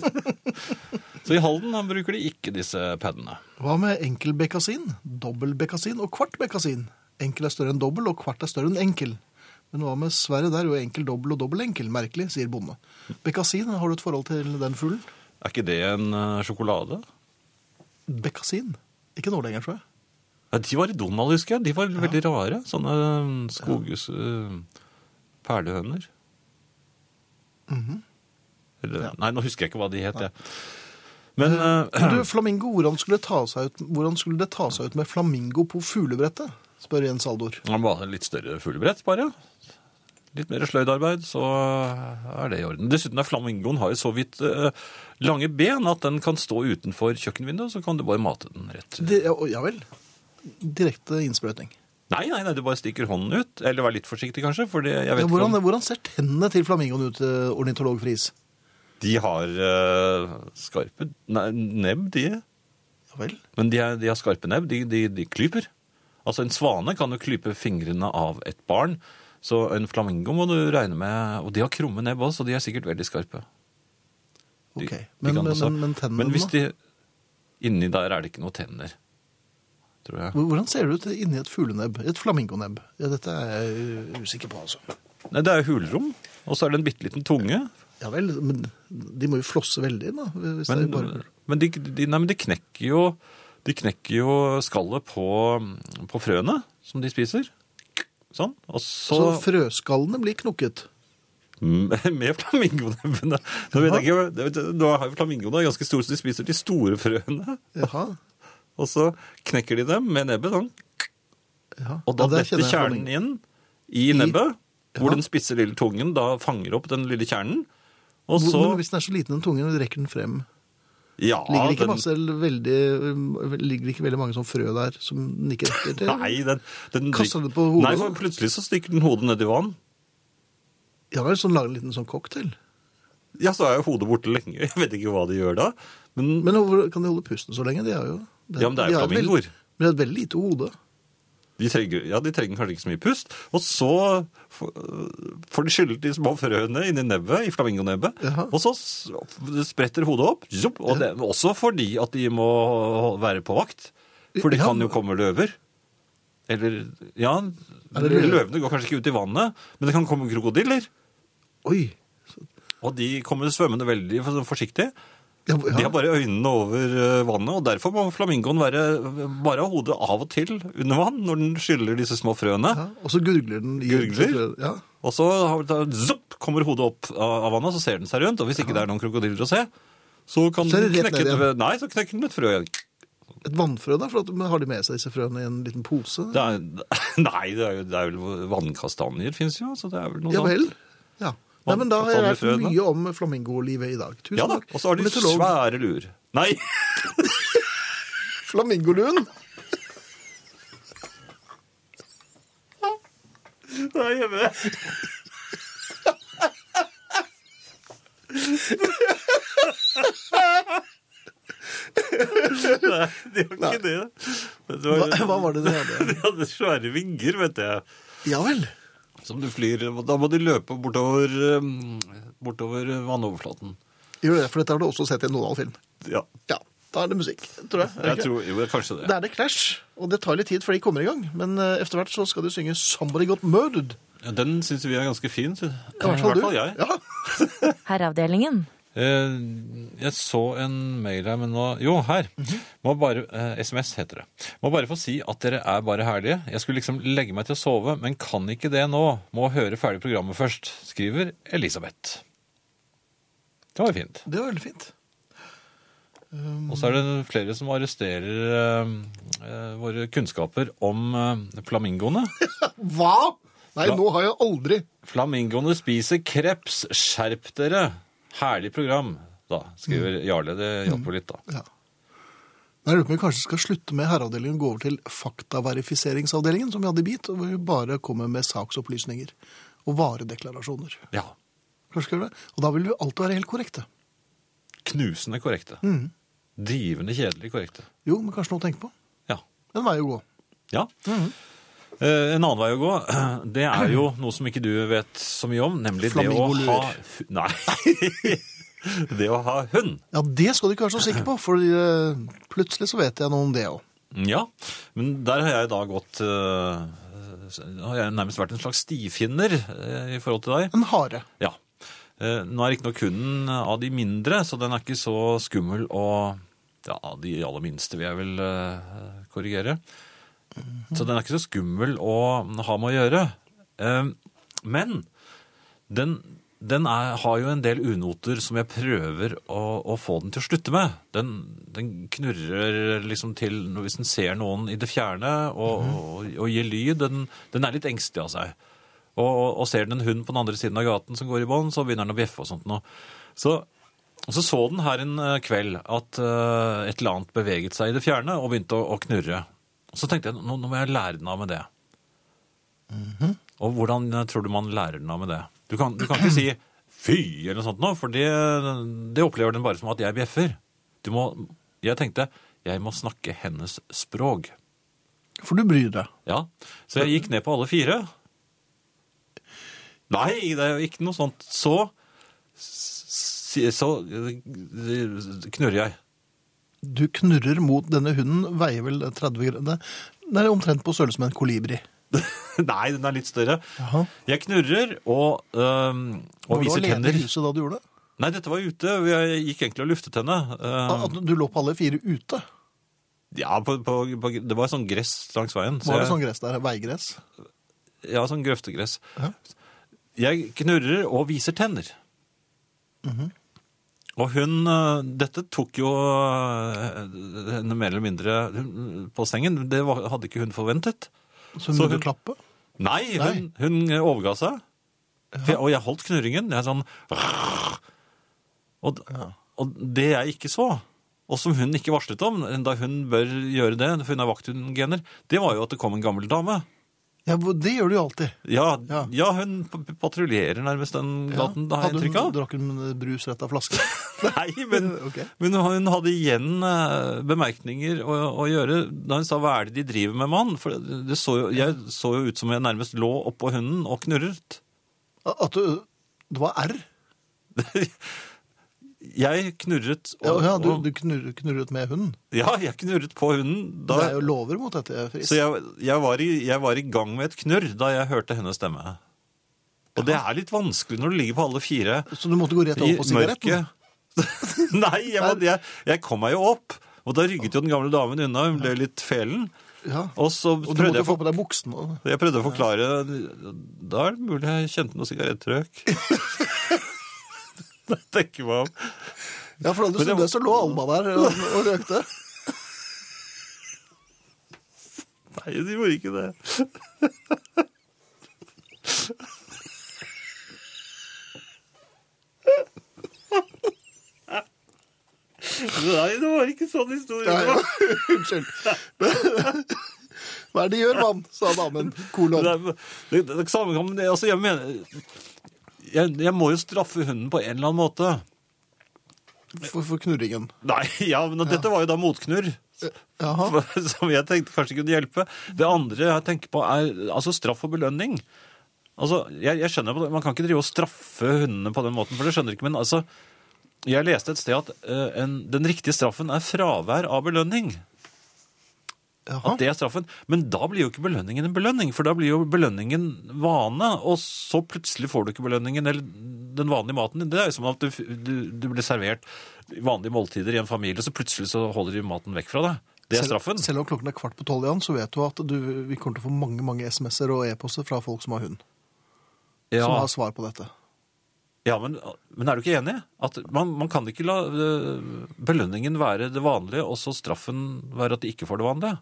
B: så i Halden han bruker de ikke disse padene.
A: Hva med enkel bekkasin, dobbel bekkasin og kvart bekkasin? Enkel er større enn dobbel, og kvart er større enn enkel. Men hva med Sverre der, jo enkel dobbel og dobbel enkel? Merkelig, sier bonde. Bekkasin, har du et forhold til den fuglen?
B: Er ikke det en eh, sjokolade?
A: Bekkasin? Ikke nå lenger, tror jeg.
B: Ja, de var i Donald, husker jeg. De var veldig rare. Sånne eh, skogus... eh, perlehøner.
A: Mhm.
B: Eller, Nei, nå husker jeg ikke hva de het, jeg. Men eh,
A: Men du, flamingo, hvordan skulle, det ta seg ut, hvordan skulle det ta seg ut med flamingo på fuglebrettet? Spør Jens Aldor.
B: han var en litt større fuglebrett, bare. Litt mer sløydarbeid, så er det i orden. Dessuten er flamingoen har jo så vidt eh, lange ben at den kan stå utenfor kjøkkenvinduet, så kan du bare mate den rett ut.
A: Det, ja, ja vel. Direkte innsprøytning.
B: Nei, nei, nei, du bare stikker hånden ut. Eller vær litt forsiktig, kanskje, for det, jeg
A: Ja,
B: vet ikke om-
A: hvordan, hvordan ser tennene til flamingoen ut, eh, ornitolog Friis?
B: De har eh, skarpe nei, nebb, de.
A: Ja vel.
B: Men de, er, de har skarpe nebb. De, de, de klyper. Altså, en svane kan jo klype fingrene av et barn. Så en flamingo må du regne med Og de har krumme nebb også, så de er sikkert veldig skarpe. De-
A: Ok.
B: de
A: Men,
B: kan
A: men,
B: også-
A: men, men tennene,
B: Men hvis
A: da?
B: de Inni der er det ikke noe tenner, tror jeg.
A: Hvordan ser det ut inni et fuglenebb? Et flamingonebb? Ja, dette er jeg usikker på, altså.
B: Nei, det er jo hulrom. Og så er det en bitte liten tunge.
A: Ja vel, men de må jo flosse veldig inn, da. Hvis det
B: Men,
A: er bare...
B: men, de, de, nei, men de knekker jo de knekker jo skallet på, på frøene som de spiser. Sånn. Og så,
A: Så frøskallene blir knukket.
B: Med flamingonebbene. Nå, vet jeg ikke, det- det- nå har jo flamingoene ganske store, så de spiser de store frøene.
A: Jaha.
B: Og så knekker de dem med nebbet sånn.
A: Ja.
B: Og
A: Ja,
B: da
A: der
B: detter
A: kjenner jeg
B: kjernen
A: honning.
B: inn i nebbet, hvor
A: Ja.
B: den spisse lille tungen da fanger opp den lille kjernen. Og
A: Hvor-
B: så
A: Men hvis den er så liten den tungen, rekker den frem.
B: ja,
A: Ligger det ikke
B: den-
A: masse eller veldig, ligger det ikke veldig mange sånn frø der som den ikke rekker til?
B: Nei, den, den
A: Kaster den på hodet,
B: Nei, for
A: da?
B: plutselig så stikker den hodet ned i vann.
A: Ja, vel, så lager en liten sånn cocktail.
B: Ja, så er jo hodet borte lenge. Jeg vet ikke hva de gjør da. Men,
A: Men hvor kan de holde pusten så lenge? De har jo de-
B: Ja, men det er
A: de
B: jo
A: har et
B: flamingoer.
A: veld- Men de har et veldig lite hode.
B: De trenger, ja, de trenger kanskje ikke så mye pust. Og så f- får de skyllet de små frøene inni nebbet, i flamingonebbet.
A: Jaha.
B: Og så s- spretter hodet opp. Zopp, og det, også fordi at de må være på vakt. For det
A: Ja.
B: kan jo komme løver. Eller Ja,
A: det løver?
B: løvene går kanskje ikke ut i vannet, men det kan komme krokodiller.
A: Oi!
B: Og de kommer svømmende veldig for- forsiktig.
A: Ja,
B: De
A: ja.
B: har bare øynene over eh, vannet, og derfor må flamingoen være bare ha hodet av og til under vann når den skyller disse små frøene.
A: ja. Og så gurgler den. i-
B: Gurgler?
A: Ja.
B: Og så har- da, zopp, kommer hodet opp eh, av av vannet, så ser den seg rundt. Og hvis ikke det er noen krokodiller å se, så kan
A: Så er det
B: den
A: rett
B: knekke,
A: ned igjen.
B: et- nei, så knekker den et frø igjen.
A: Et vannfrø, da? For at, men har de med seg disse frøene i en liten pose?
B: Det er, nei, det er, jo, det er vel vannkastanjer fins jo, så det er vel noe
A: Ja
B: sånt.
A: vel. Ja. Nei, men da har jeg
B: Vann-
A: lært
B: vann i frøene.
A: mye om flamingolivet i dag. Tusen
B: Ja da,
A: takk.
B: Og så har de
A: Meteorolog
B: svære luer. Nei!
A: Flamingoluen.
B: Det er hjemme. Nei, de var ikke det. det
A: Hva,
B: var,
A: hva var det det hadde?
B: De hadde svære vinger, vet jeg.
A: Ja vel.
B: Som du flyr Da må de løpe bortover, um, bortover vannoverflaten.
A: Gjør det, for dette har du også sett i en Nodal-film.
B: Ja,
A: Ja, da er det musikk, tror jeg. Er det
B: jeg
A: ikke?
B: tror jo, det er kanskje
A: Da
B: det.
A: er det Clash, og det tar litt tid før de kommer i gang. Men eh, etter hvert så skal de synge 'Somebody Got Murdered'.
B: Ja, Den syns vi er ganske fin. synes jeg.
A: I hvert fall, du.
B: jeg.
A: Ja.
C: Herreavdelingen.
B: Eh, Jeg så en mail her, men nå Jo, her. Må bare, eh, SMS heter det. Må bare få si at dere er bare herlige. Jeg skulle liksom legge meg til å sove, men kan ikke det nå. Må høre ferdig programmet først. Skriver Elisabeth. Det var jo fint.
A: Det var veldig fint.
B: Og så er det flere som arresterer eh, eh, våre kunnskaper om eh, flamingoene.
A: Hva?! Nei,
B: Ja.
A: nå har jeg aldri
B: Flamingoene spiser kreps. Skjerp dere! Herlig program, da, skriver Jarle. Det hjalp jo litt, da.
A: ja. Men Jeg lurer på om vi kanskje skal slutte med herreavdelingen og gå over til faktaverifiseringsavdelingen, som vi hadde i bit, og hvor vi bare kommer med saksopplysninger og varedeklarasjoner.
B: Ja.
A: Kanskje skal vi gjøre det? Og da vil vi alltid være helt korrekte.
B: Knusende korrekte. Drivende kjedelig korrekte.
A: Jo, men kanskje noe å tenke på.
B: Ja.
A: En vei å gå.
B: ja. Eh, En annen vei å gå, det er jo noe som ikke du vet så mye om, nemlig det å
A: Flamingoluer.
B: ha hu- Nei. det å ha hund.
A: Ja, det skal du ikke være så sikker på, for eh, plutselig så vet jeg noe om det òg.
B: Ja. Men der har jeg da gått eh, s- Har jeg nærmest vært en slags stifinner eh, i forhold til deg.
A: En hare.
B: Ja. Eh, Nå er riktignok hunden eh, av de mindre, så den er ikke så skummel og Ja, de aller minste vil jeg vel eh, korrigere. Så den er ikke så skummel å ha med å gjøre. Eh, Men den, den er, har jo en del unoter som jeg prøver å, å få den til å slutte med. Den, den knurrer liksom til når- hvis den ser noen i det fjerne og, og, og gir lyd. Den, den er litt engstelig av seg. Og, og, og ser den en hund på den andre siden av gaten som går i bånd, så begynner den å bjeffe og sånt noe. Så, og så så den her en eh, kveld at eh, et eller annet beveget seg i det fjerne og begynte å, å knurre. Så tenkte jeg, nå, nå må jeg lære den av med det. Og hvordan eh, tror du man lærer den av med det? Du kan, du kan ikke si fy eller noe sånt nå, for det, det opplever den bare som at jeg bjeffer. Du må, jeg tenkte, jeg må snakke hennes språk.
A: For du bryr deg.
B: Ja, så jeg gikk ned på alle fire. Nei, det er jo ikke noe sånt. Så, s- så knurrer jeg.
A: Du knurrer mot denne hunden, veier vel 30 grader. Det er omtrent på størrelse med en kolibri.
B: Nei, den er litt større.
A: Jaha.
B: Jeg knurrer og, øhm,
A: Var
B: og
A: du
B: viser
A: alene
B: tenner.
A: i huset da du gjorde det?
B: Nei, dette var ute. og Jeg gikk egentlig og luftet henne.
A: Ah,
B: Øhm,
A: at Du lå på alle fire ute.
B: ja, på, på, på, det var sånn gress langs veien. så
A: Var det
B: jeg-
A: sånn gress der? Veigress?
B: Ja, sånn grøftegress.
A: Ja.
B: Jeg knurrer og viser tenner. Og hun eh, Dette tok jo eh, henne mer eller mindre hun- på sengen. Det var, hadde ikke hun forventet.
A: Så hun
B: Så
A: begynte
B: hun-
A: å klappe?
B: Nei, hun, hun overga seg. For jeg, og jeg holdt knurringen. Jeg er sånn og, og det jeg ikke så, og som hun ikke varslet om, da hun bør gjøre det, for hun er vakthunder, det var jo at det kom en gammel dame.
A: Ja, hvor- det gjør du jo alltid.
B: Ja, ja.
A: Ja.
B: hun p- p- patruljerer nærmest den
A: Ja.
B: gaten, da har jeg
A: Hadde
B: inntrykk
A: hun
B: av.
A: drakk hun brus rett av flaske?
B: Nei, men,
A: Ok.
B: men hun hadde igjen eh, bemerkninger å, å gjøre da hun sa 'hva er det de driver med, mann'? For det det så jo, jeg så jo ut som jeg nærmest lå oppå hunden og knurret.
A: At du, det var R?
B: Jeg knurret
A: Ja,
B: og,
A: ja du,
B: og,
A: du knurr- knurret med hunden.
B: ja jeg knurret på hunden. Da,
A: Det er jo lover mot dette, Friis.
B: så jeg, jeg, var i, jeg var i gang med et knurr da jeg hørte hennes stemme. Og det er litt vanskelig når du ligger på alle fire.
A: Så du måtte gå rett over på sigaretten?
B: Nei, jeg, må- jeg, jeg kom meg jo opp. Og da rygget jo den gamle damen unna, hun ble litt felen.
A: Ja.
B: Og så
A: Og du
B: prøvde
A: måtte
B: jeg,
A: få
B: for,
A: på deg buksen. og-
B: jeg prøvde å forklare Da er det mulig jeg kjente noe sigarettrøk. Jeg tenker meg om.
A: Ja, for da du
B: Men jeg-
A: snudde, så lå Alma der og, og røkte.
B: Nei, de gjorde ikke det. Nei, det var ikke sånn
A: Ja,
B: historien
A: ja.
B: var.
A: Unnskyld. Hva er det de gjør, mann? sa damen. Kolon.
B: Det, er- det, det, det samme kan det, altså jeg mener jeg, jeg må jo straffe hunden på en eller annen måte.
A: For, for knurringen. Eh,
B: Nei, ja, men dette var jo da motknurr.
A: Jaha.
B: Som jeg tenkte kanskje kunne hjelpe. Det andre jeg tenker på er altså straff og belønning. Altså, jeg, jeg skjønner på det, Man kan ikke drive og straffe hundene på den måten, for det skjønner jeg ikke. Men altså, jeg leste et sted at eh, en, den riktige straffen er fravær av belønning.
A: Jaha.
B: At det er straffen. Men da blir jo ikke belønningen en belønning, for da blir jo belønningen vane, og så plutselig får du ikke belønningen, eller den vanlige maten din. Det er jo som at du, du, du blir servert vanlige måltider i en familie, så plutselig så holder de maten vekk fra deg. Det er
A: Selv-
B: straffen.
A: Selv om klokken er kvart på tolv, Jan, så vet du at du, vi kommer til å få mange mange SMS-er og e-poster fra folk som har hund.
B: Ja,
A: Som har svar på dette.
B: ja men, men er du ikke enig? At man, man kan ikke la øh, belønningen være det vanlige, og så straffen være at de ikke får det vanlige.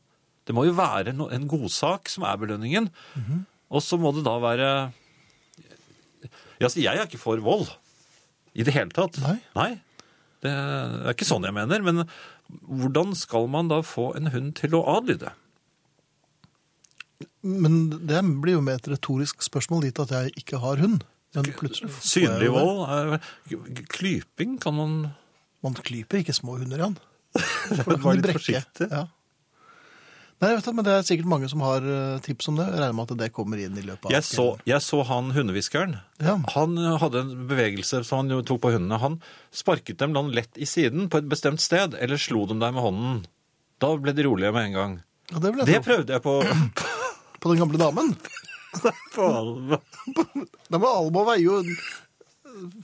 B: Det må jo være no, en godsak som er belønningen.
A: Mhm.
B: Og så må det da være Ja, altså, jeg er ikke for vold. I det hele tatt.
A: Nei.
B: Det er ikke sånn jeg mener. Men hvordan skal man da få en hund til å adlyde?
A: Men det blir jo med et retorisk spørsmål dit at jeg ikke har hund. Men plutselig får jeg jo
B: Synlig
A: det.
B: vold? Er, klyping kan man
A: Man klyper ikke små hunder, Jan. For da
B: Vær
A: kan de
B: litt
A: brekke.
B: forsiktig.
A: Ja. Nei, jeg vet det, men det er sikkert mange som har eh, tips om det. Jeg regner med at det kommer inn i løpet av
B: Jeg så, jeg så han hundehviskeren.
A: Ja.
B: Han eh, hadde en bevegelse som han jo tok på hundene. Han sparket dem da han lett i siden på et bestemt sted, eller slo dem deg med hånden. Da ble de rolige med en gang.
A: Ja, det vil jeg
B: Det
A: tro.
B: prøvde jeg på.
A: På den gamle damen.
B: på alvor.
A: Den var Alma veier jo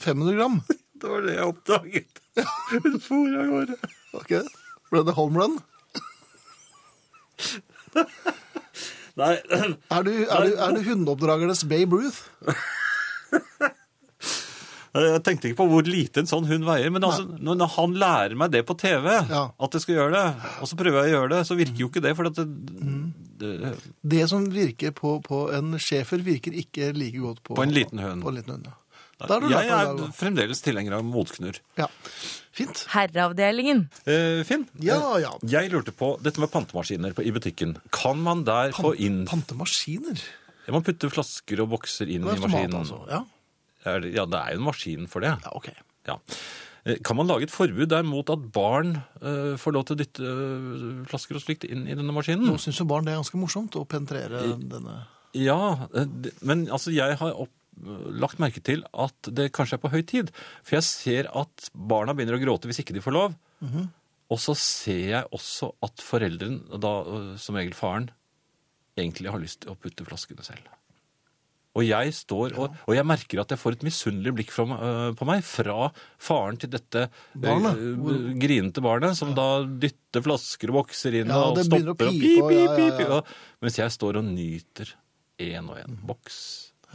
A: 500 gram.
B: det var det jeg oppdaget. Hun for av gårde.
A: Ok, Ble det home run?
B: Nei,
A: Er du, er du, er du hundeoppdragernes Babe Ruth?
B: jeg tenkte ikke på hvor lite en sånn hund veier. Men altså, når han lærer meg det på TV,
A: Ja.
B: at jeg skal gjøre det, og så prøver jeg å gjøre det, så virker jo ikke det. For at det,
A: Mm.
B: det,
A: Det som virker på, på en schæfer, virker ikke like godt på
B: På en liten hund.
A: På en liten hund, ja. Da er du
B: jeg
A: lært
B: er
A: på det,
B: fremdeles tilhenger av motknurr.
A: da. ja. Fint.
C: Herreavdelingen.
B: Eh, Finn,
A: Ja, ja.
B: jeg lurte på dette med pantemaskiner på, i butikken. Kan man der få inn
A: Pantemaskiner.
B: Man putter flasker og bokser inn
A: Det
B: i
A: er tomat,
B: maskinen.
A: altså. Ja,
B: Er det- ja, det er jo en maskin for det.
A: ja ok.
B: Ja. Eh, Kan man lage et forbud der mot at barn eh, får lov til å dytte eh, flasker og slikt inn i denne maskinen?
A: Nå syns jo barn det er ganske morsomt å penetrere denne
B: Ja, eh, det- men altså, jeg har opp, eh, lagt merke til at det kanskje er på høy tid. For jeg ser at barna begynner å gråte hvis ikke de får lov.
A: Mhm.
B: Og så ser jeg også at foreldren, og da eh, som regel faren, egentlig har lyst til å putte flaskene selv. Og jeg står og, og jeg merker at jeg får et misunnelig blikk fra, øh, på meg fra faren til dette øh,
A: Barnet.
B: øh, grinete barnet, som da dytter flasker og bokser inn
A: Ja,
B: og
A: det begynner å
B: stopper og pip,
A: pipe, og ja,
B: pip,
A: ja,
B: pip,
A: ja.
B: og- Mens jeg står og nyter én og én boks,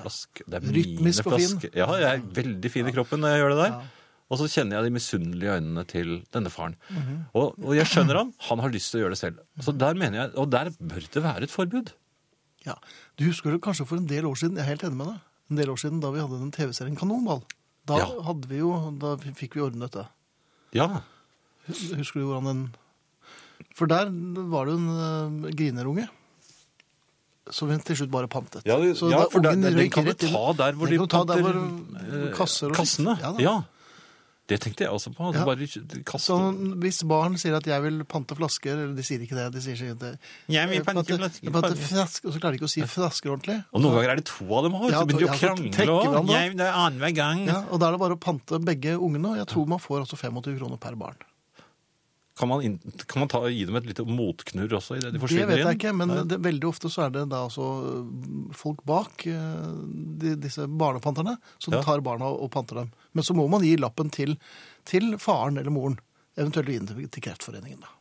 B: flaske Det er mine
A: Rytmisk og fin.
B: flasker. Ja, jeg er veldig fin i kroppen når jeg gjør det der. Og så kjenner jeg de misunnelige øynene til denne faren.
A: Mhm.
B: og, og jeg skjønner ham. Han har lyst til å gjøre det selv. Så der mener jeg, Og der bør det være et forbud.
A: Ja. Du husker det kanskje for en del år siden, jeg er helt enig med deg, en del år siden da vi hadde den TV-serien Kanonball. Da,
B: Ja.
A: hadde vi jo, da fikk vi ordnet dette.
B: Ja.
A: Husker du hvordan den For der var det jo en eh, grinerunge. Som vi til slutt bare pantet.
B: Ja, det-
A: Så
B: ja,
A: da
B: for
A: ungen
B: den- den
A: røyk
B: kan du
A: rett inn-
B: ta der hvor
A: den
B: de
A: kan du ta der
B: panter,
A: hvor,
B: eh,
A: kasser og
B: Kassene.
A: Ja, da.
B: Ja. Det tenkte jeg også på. At
A: Ja.
B: du bare
A: Så
B: kaster
A: hvis barn sier at 'jeg vil pante flasker', eller de sier ikke det de sier ikke det.
B: Jeg vil pante flasker,
A: jeg pante
B: pante-
A: flasker, Og så klarer de ikke å si flasker ordentlig.
B: Og noen ganger er det to av dem òg,
A: Ja,
B: så begynner de
A: ja,
B: å
A: så trekker
B: krangle òg.
A: hverandre.
B: Det er annenhver gang.
A: Ja, og da er det bare å pante begge ungene. og Jeg tror man får altså 25 kroner per barn.
B: Kan man, inn- kan man ta, gi dem et lite motknurr også idet de
A: Det
B: forsvinner
A: vet jeg
B: inn?
A: ikke, men det, veldig ofte så er det da altså øh, folk bak øh, de, disse barnepanterne som
B: Ja.
A: tar barna og panter dem. Men så må man gi lappen til, til faren eller moren, eventuelt inn til, til Kreftforeningen. da.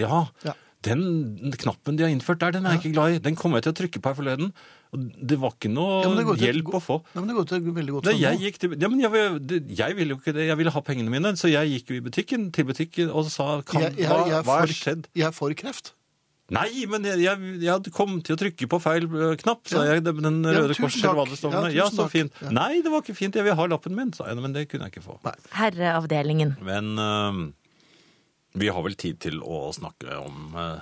B: Ja.
A: Ja.
B: Den knappen de har innført der, den er jeg ikke glad i. Den kom jeg til å trykke på her forleden. Og det var ikke noe
A: Ja, men det går til-
B: hjelp å få.
A: Nei, men det går til veldig godt
B: Nei,
A: for
B: jeg
A: nå.
B: gikk til, ja, men jeg, vil- jeg ville jo ikke det. Jeg ville ha pengene mine, så jeg gikk jo i butikken, til butikken og sa kan,
A: Jeg- jeg-
B: hva,
A: jeg er
B: hva
A: for-
B: har skjedd?
A: Jeg er for kreft.
B: Nei, men jeg, jeg, jeg kom til å trykke på feil ø, knapp, sa
A: Ja.
B: jeg. Den den
A: Ja,
B: røde
A: tusen
B: korset eller hva
A: takk.
B: det står
A: Ja,
B: for noe. Ja,
A: tusen
B: så
A: takk.
B: fint.
A: Ja.
B: Nei, det var ikke fint. Jeg vil ha lappen min, sa jeg. Men det kunne jeg ikke få.
A: Nei.
C: Herreavdelingen.
B: Men ø, vi har vel tid til å snakke om ø,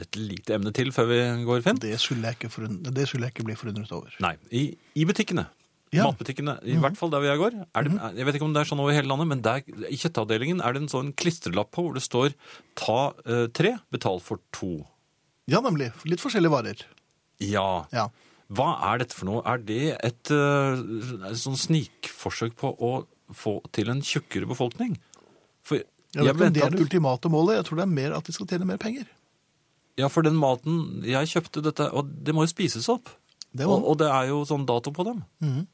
B: et lite emne til før vi går, Finn?
A: Det skulle jeg ikke, forund- det skulle jeg ikke bli forundret over.
B: Nei, i, i butikkene.
A: Ja. Mhm.
B: Matbutikkene, i hvert fall der hvor jeg går. Er det, Jeg vet ikke om det er sånn over hele landet, men der, i kjøttavdelingen er det en sånn klistrelapp på hvor det står 'ta eh, tre, betal for to'.
A: Ja, nemlig. Litt forskjellige varer.
B: Ja.
A: Ja.
B: Hva er dette for noe? Er det et eh, sånn snikforsøk på å få til en tjukkere befolkning? For
A: Jeg vet ikke om
B: mente
A: det er
B: at-
A: det ultimate målet. Jeg tror det er mer at de skal tjene mer penger.
B: Ja, for den maten jeg kjøpte dette, og det må jo spises opp.
A: Det må
B: og,
A: den.
B: og det er jo sånn dato på dem.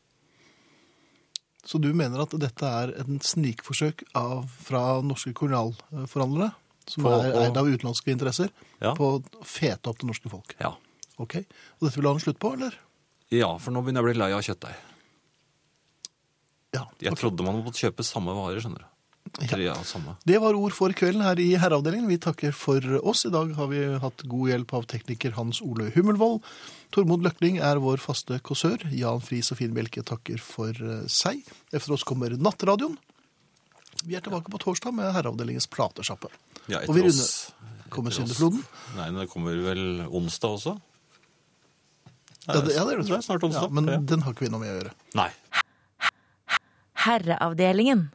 A: Så du mener at dette er en snikforsøk av, fra norske kolonialforhandlere, som
B: På
A: er
B: å-
A: eid av utenlandske interesser,
B: Ja.
A: på å fete opp det norske folk?
B: Ja.
A: Ok. Og dette vil du ha en slutt på, eller?
B: ja, for nå begynner jeg å bli lei av kjøttdeig.
A: Ja.
B: Jeg
A: ok.
B: trodde man måtte kjøpe samme varer, skjønner du. Tre av samme.
A: Det var ord for kvelden her i herreavdelingen. Vi takker for oss. I dag har vi hatt god hjelp av tekniker Hans Ole Hummelvold. Tormod Løkling er vår faste kåsør. Jan Friis og Finn Bjelke takker for eh, seg. Efter oss kommer Nattradioen. Vi er tilbake på torsdag med herreavdelingens platesjappe.
B: Ja,
A: og vi runder
B: etter oss.
A: Kommer
B: etter oss.
A: syndefloden?
B: Nei, men det kommer vel onsdag også? Nei,
A: Ja, det, ja, det er det.
B: snart onsdag.
A: Ja, men
B: Ja.
A: den har ikke vi noe med å gjøre.
B: Nei.
C: Herreavdelingen.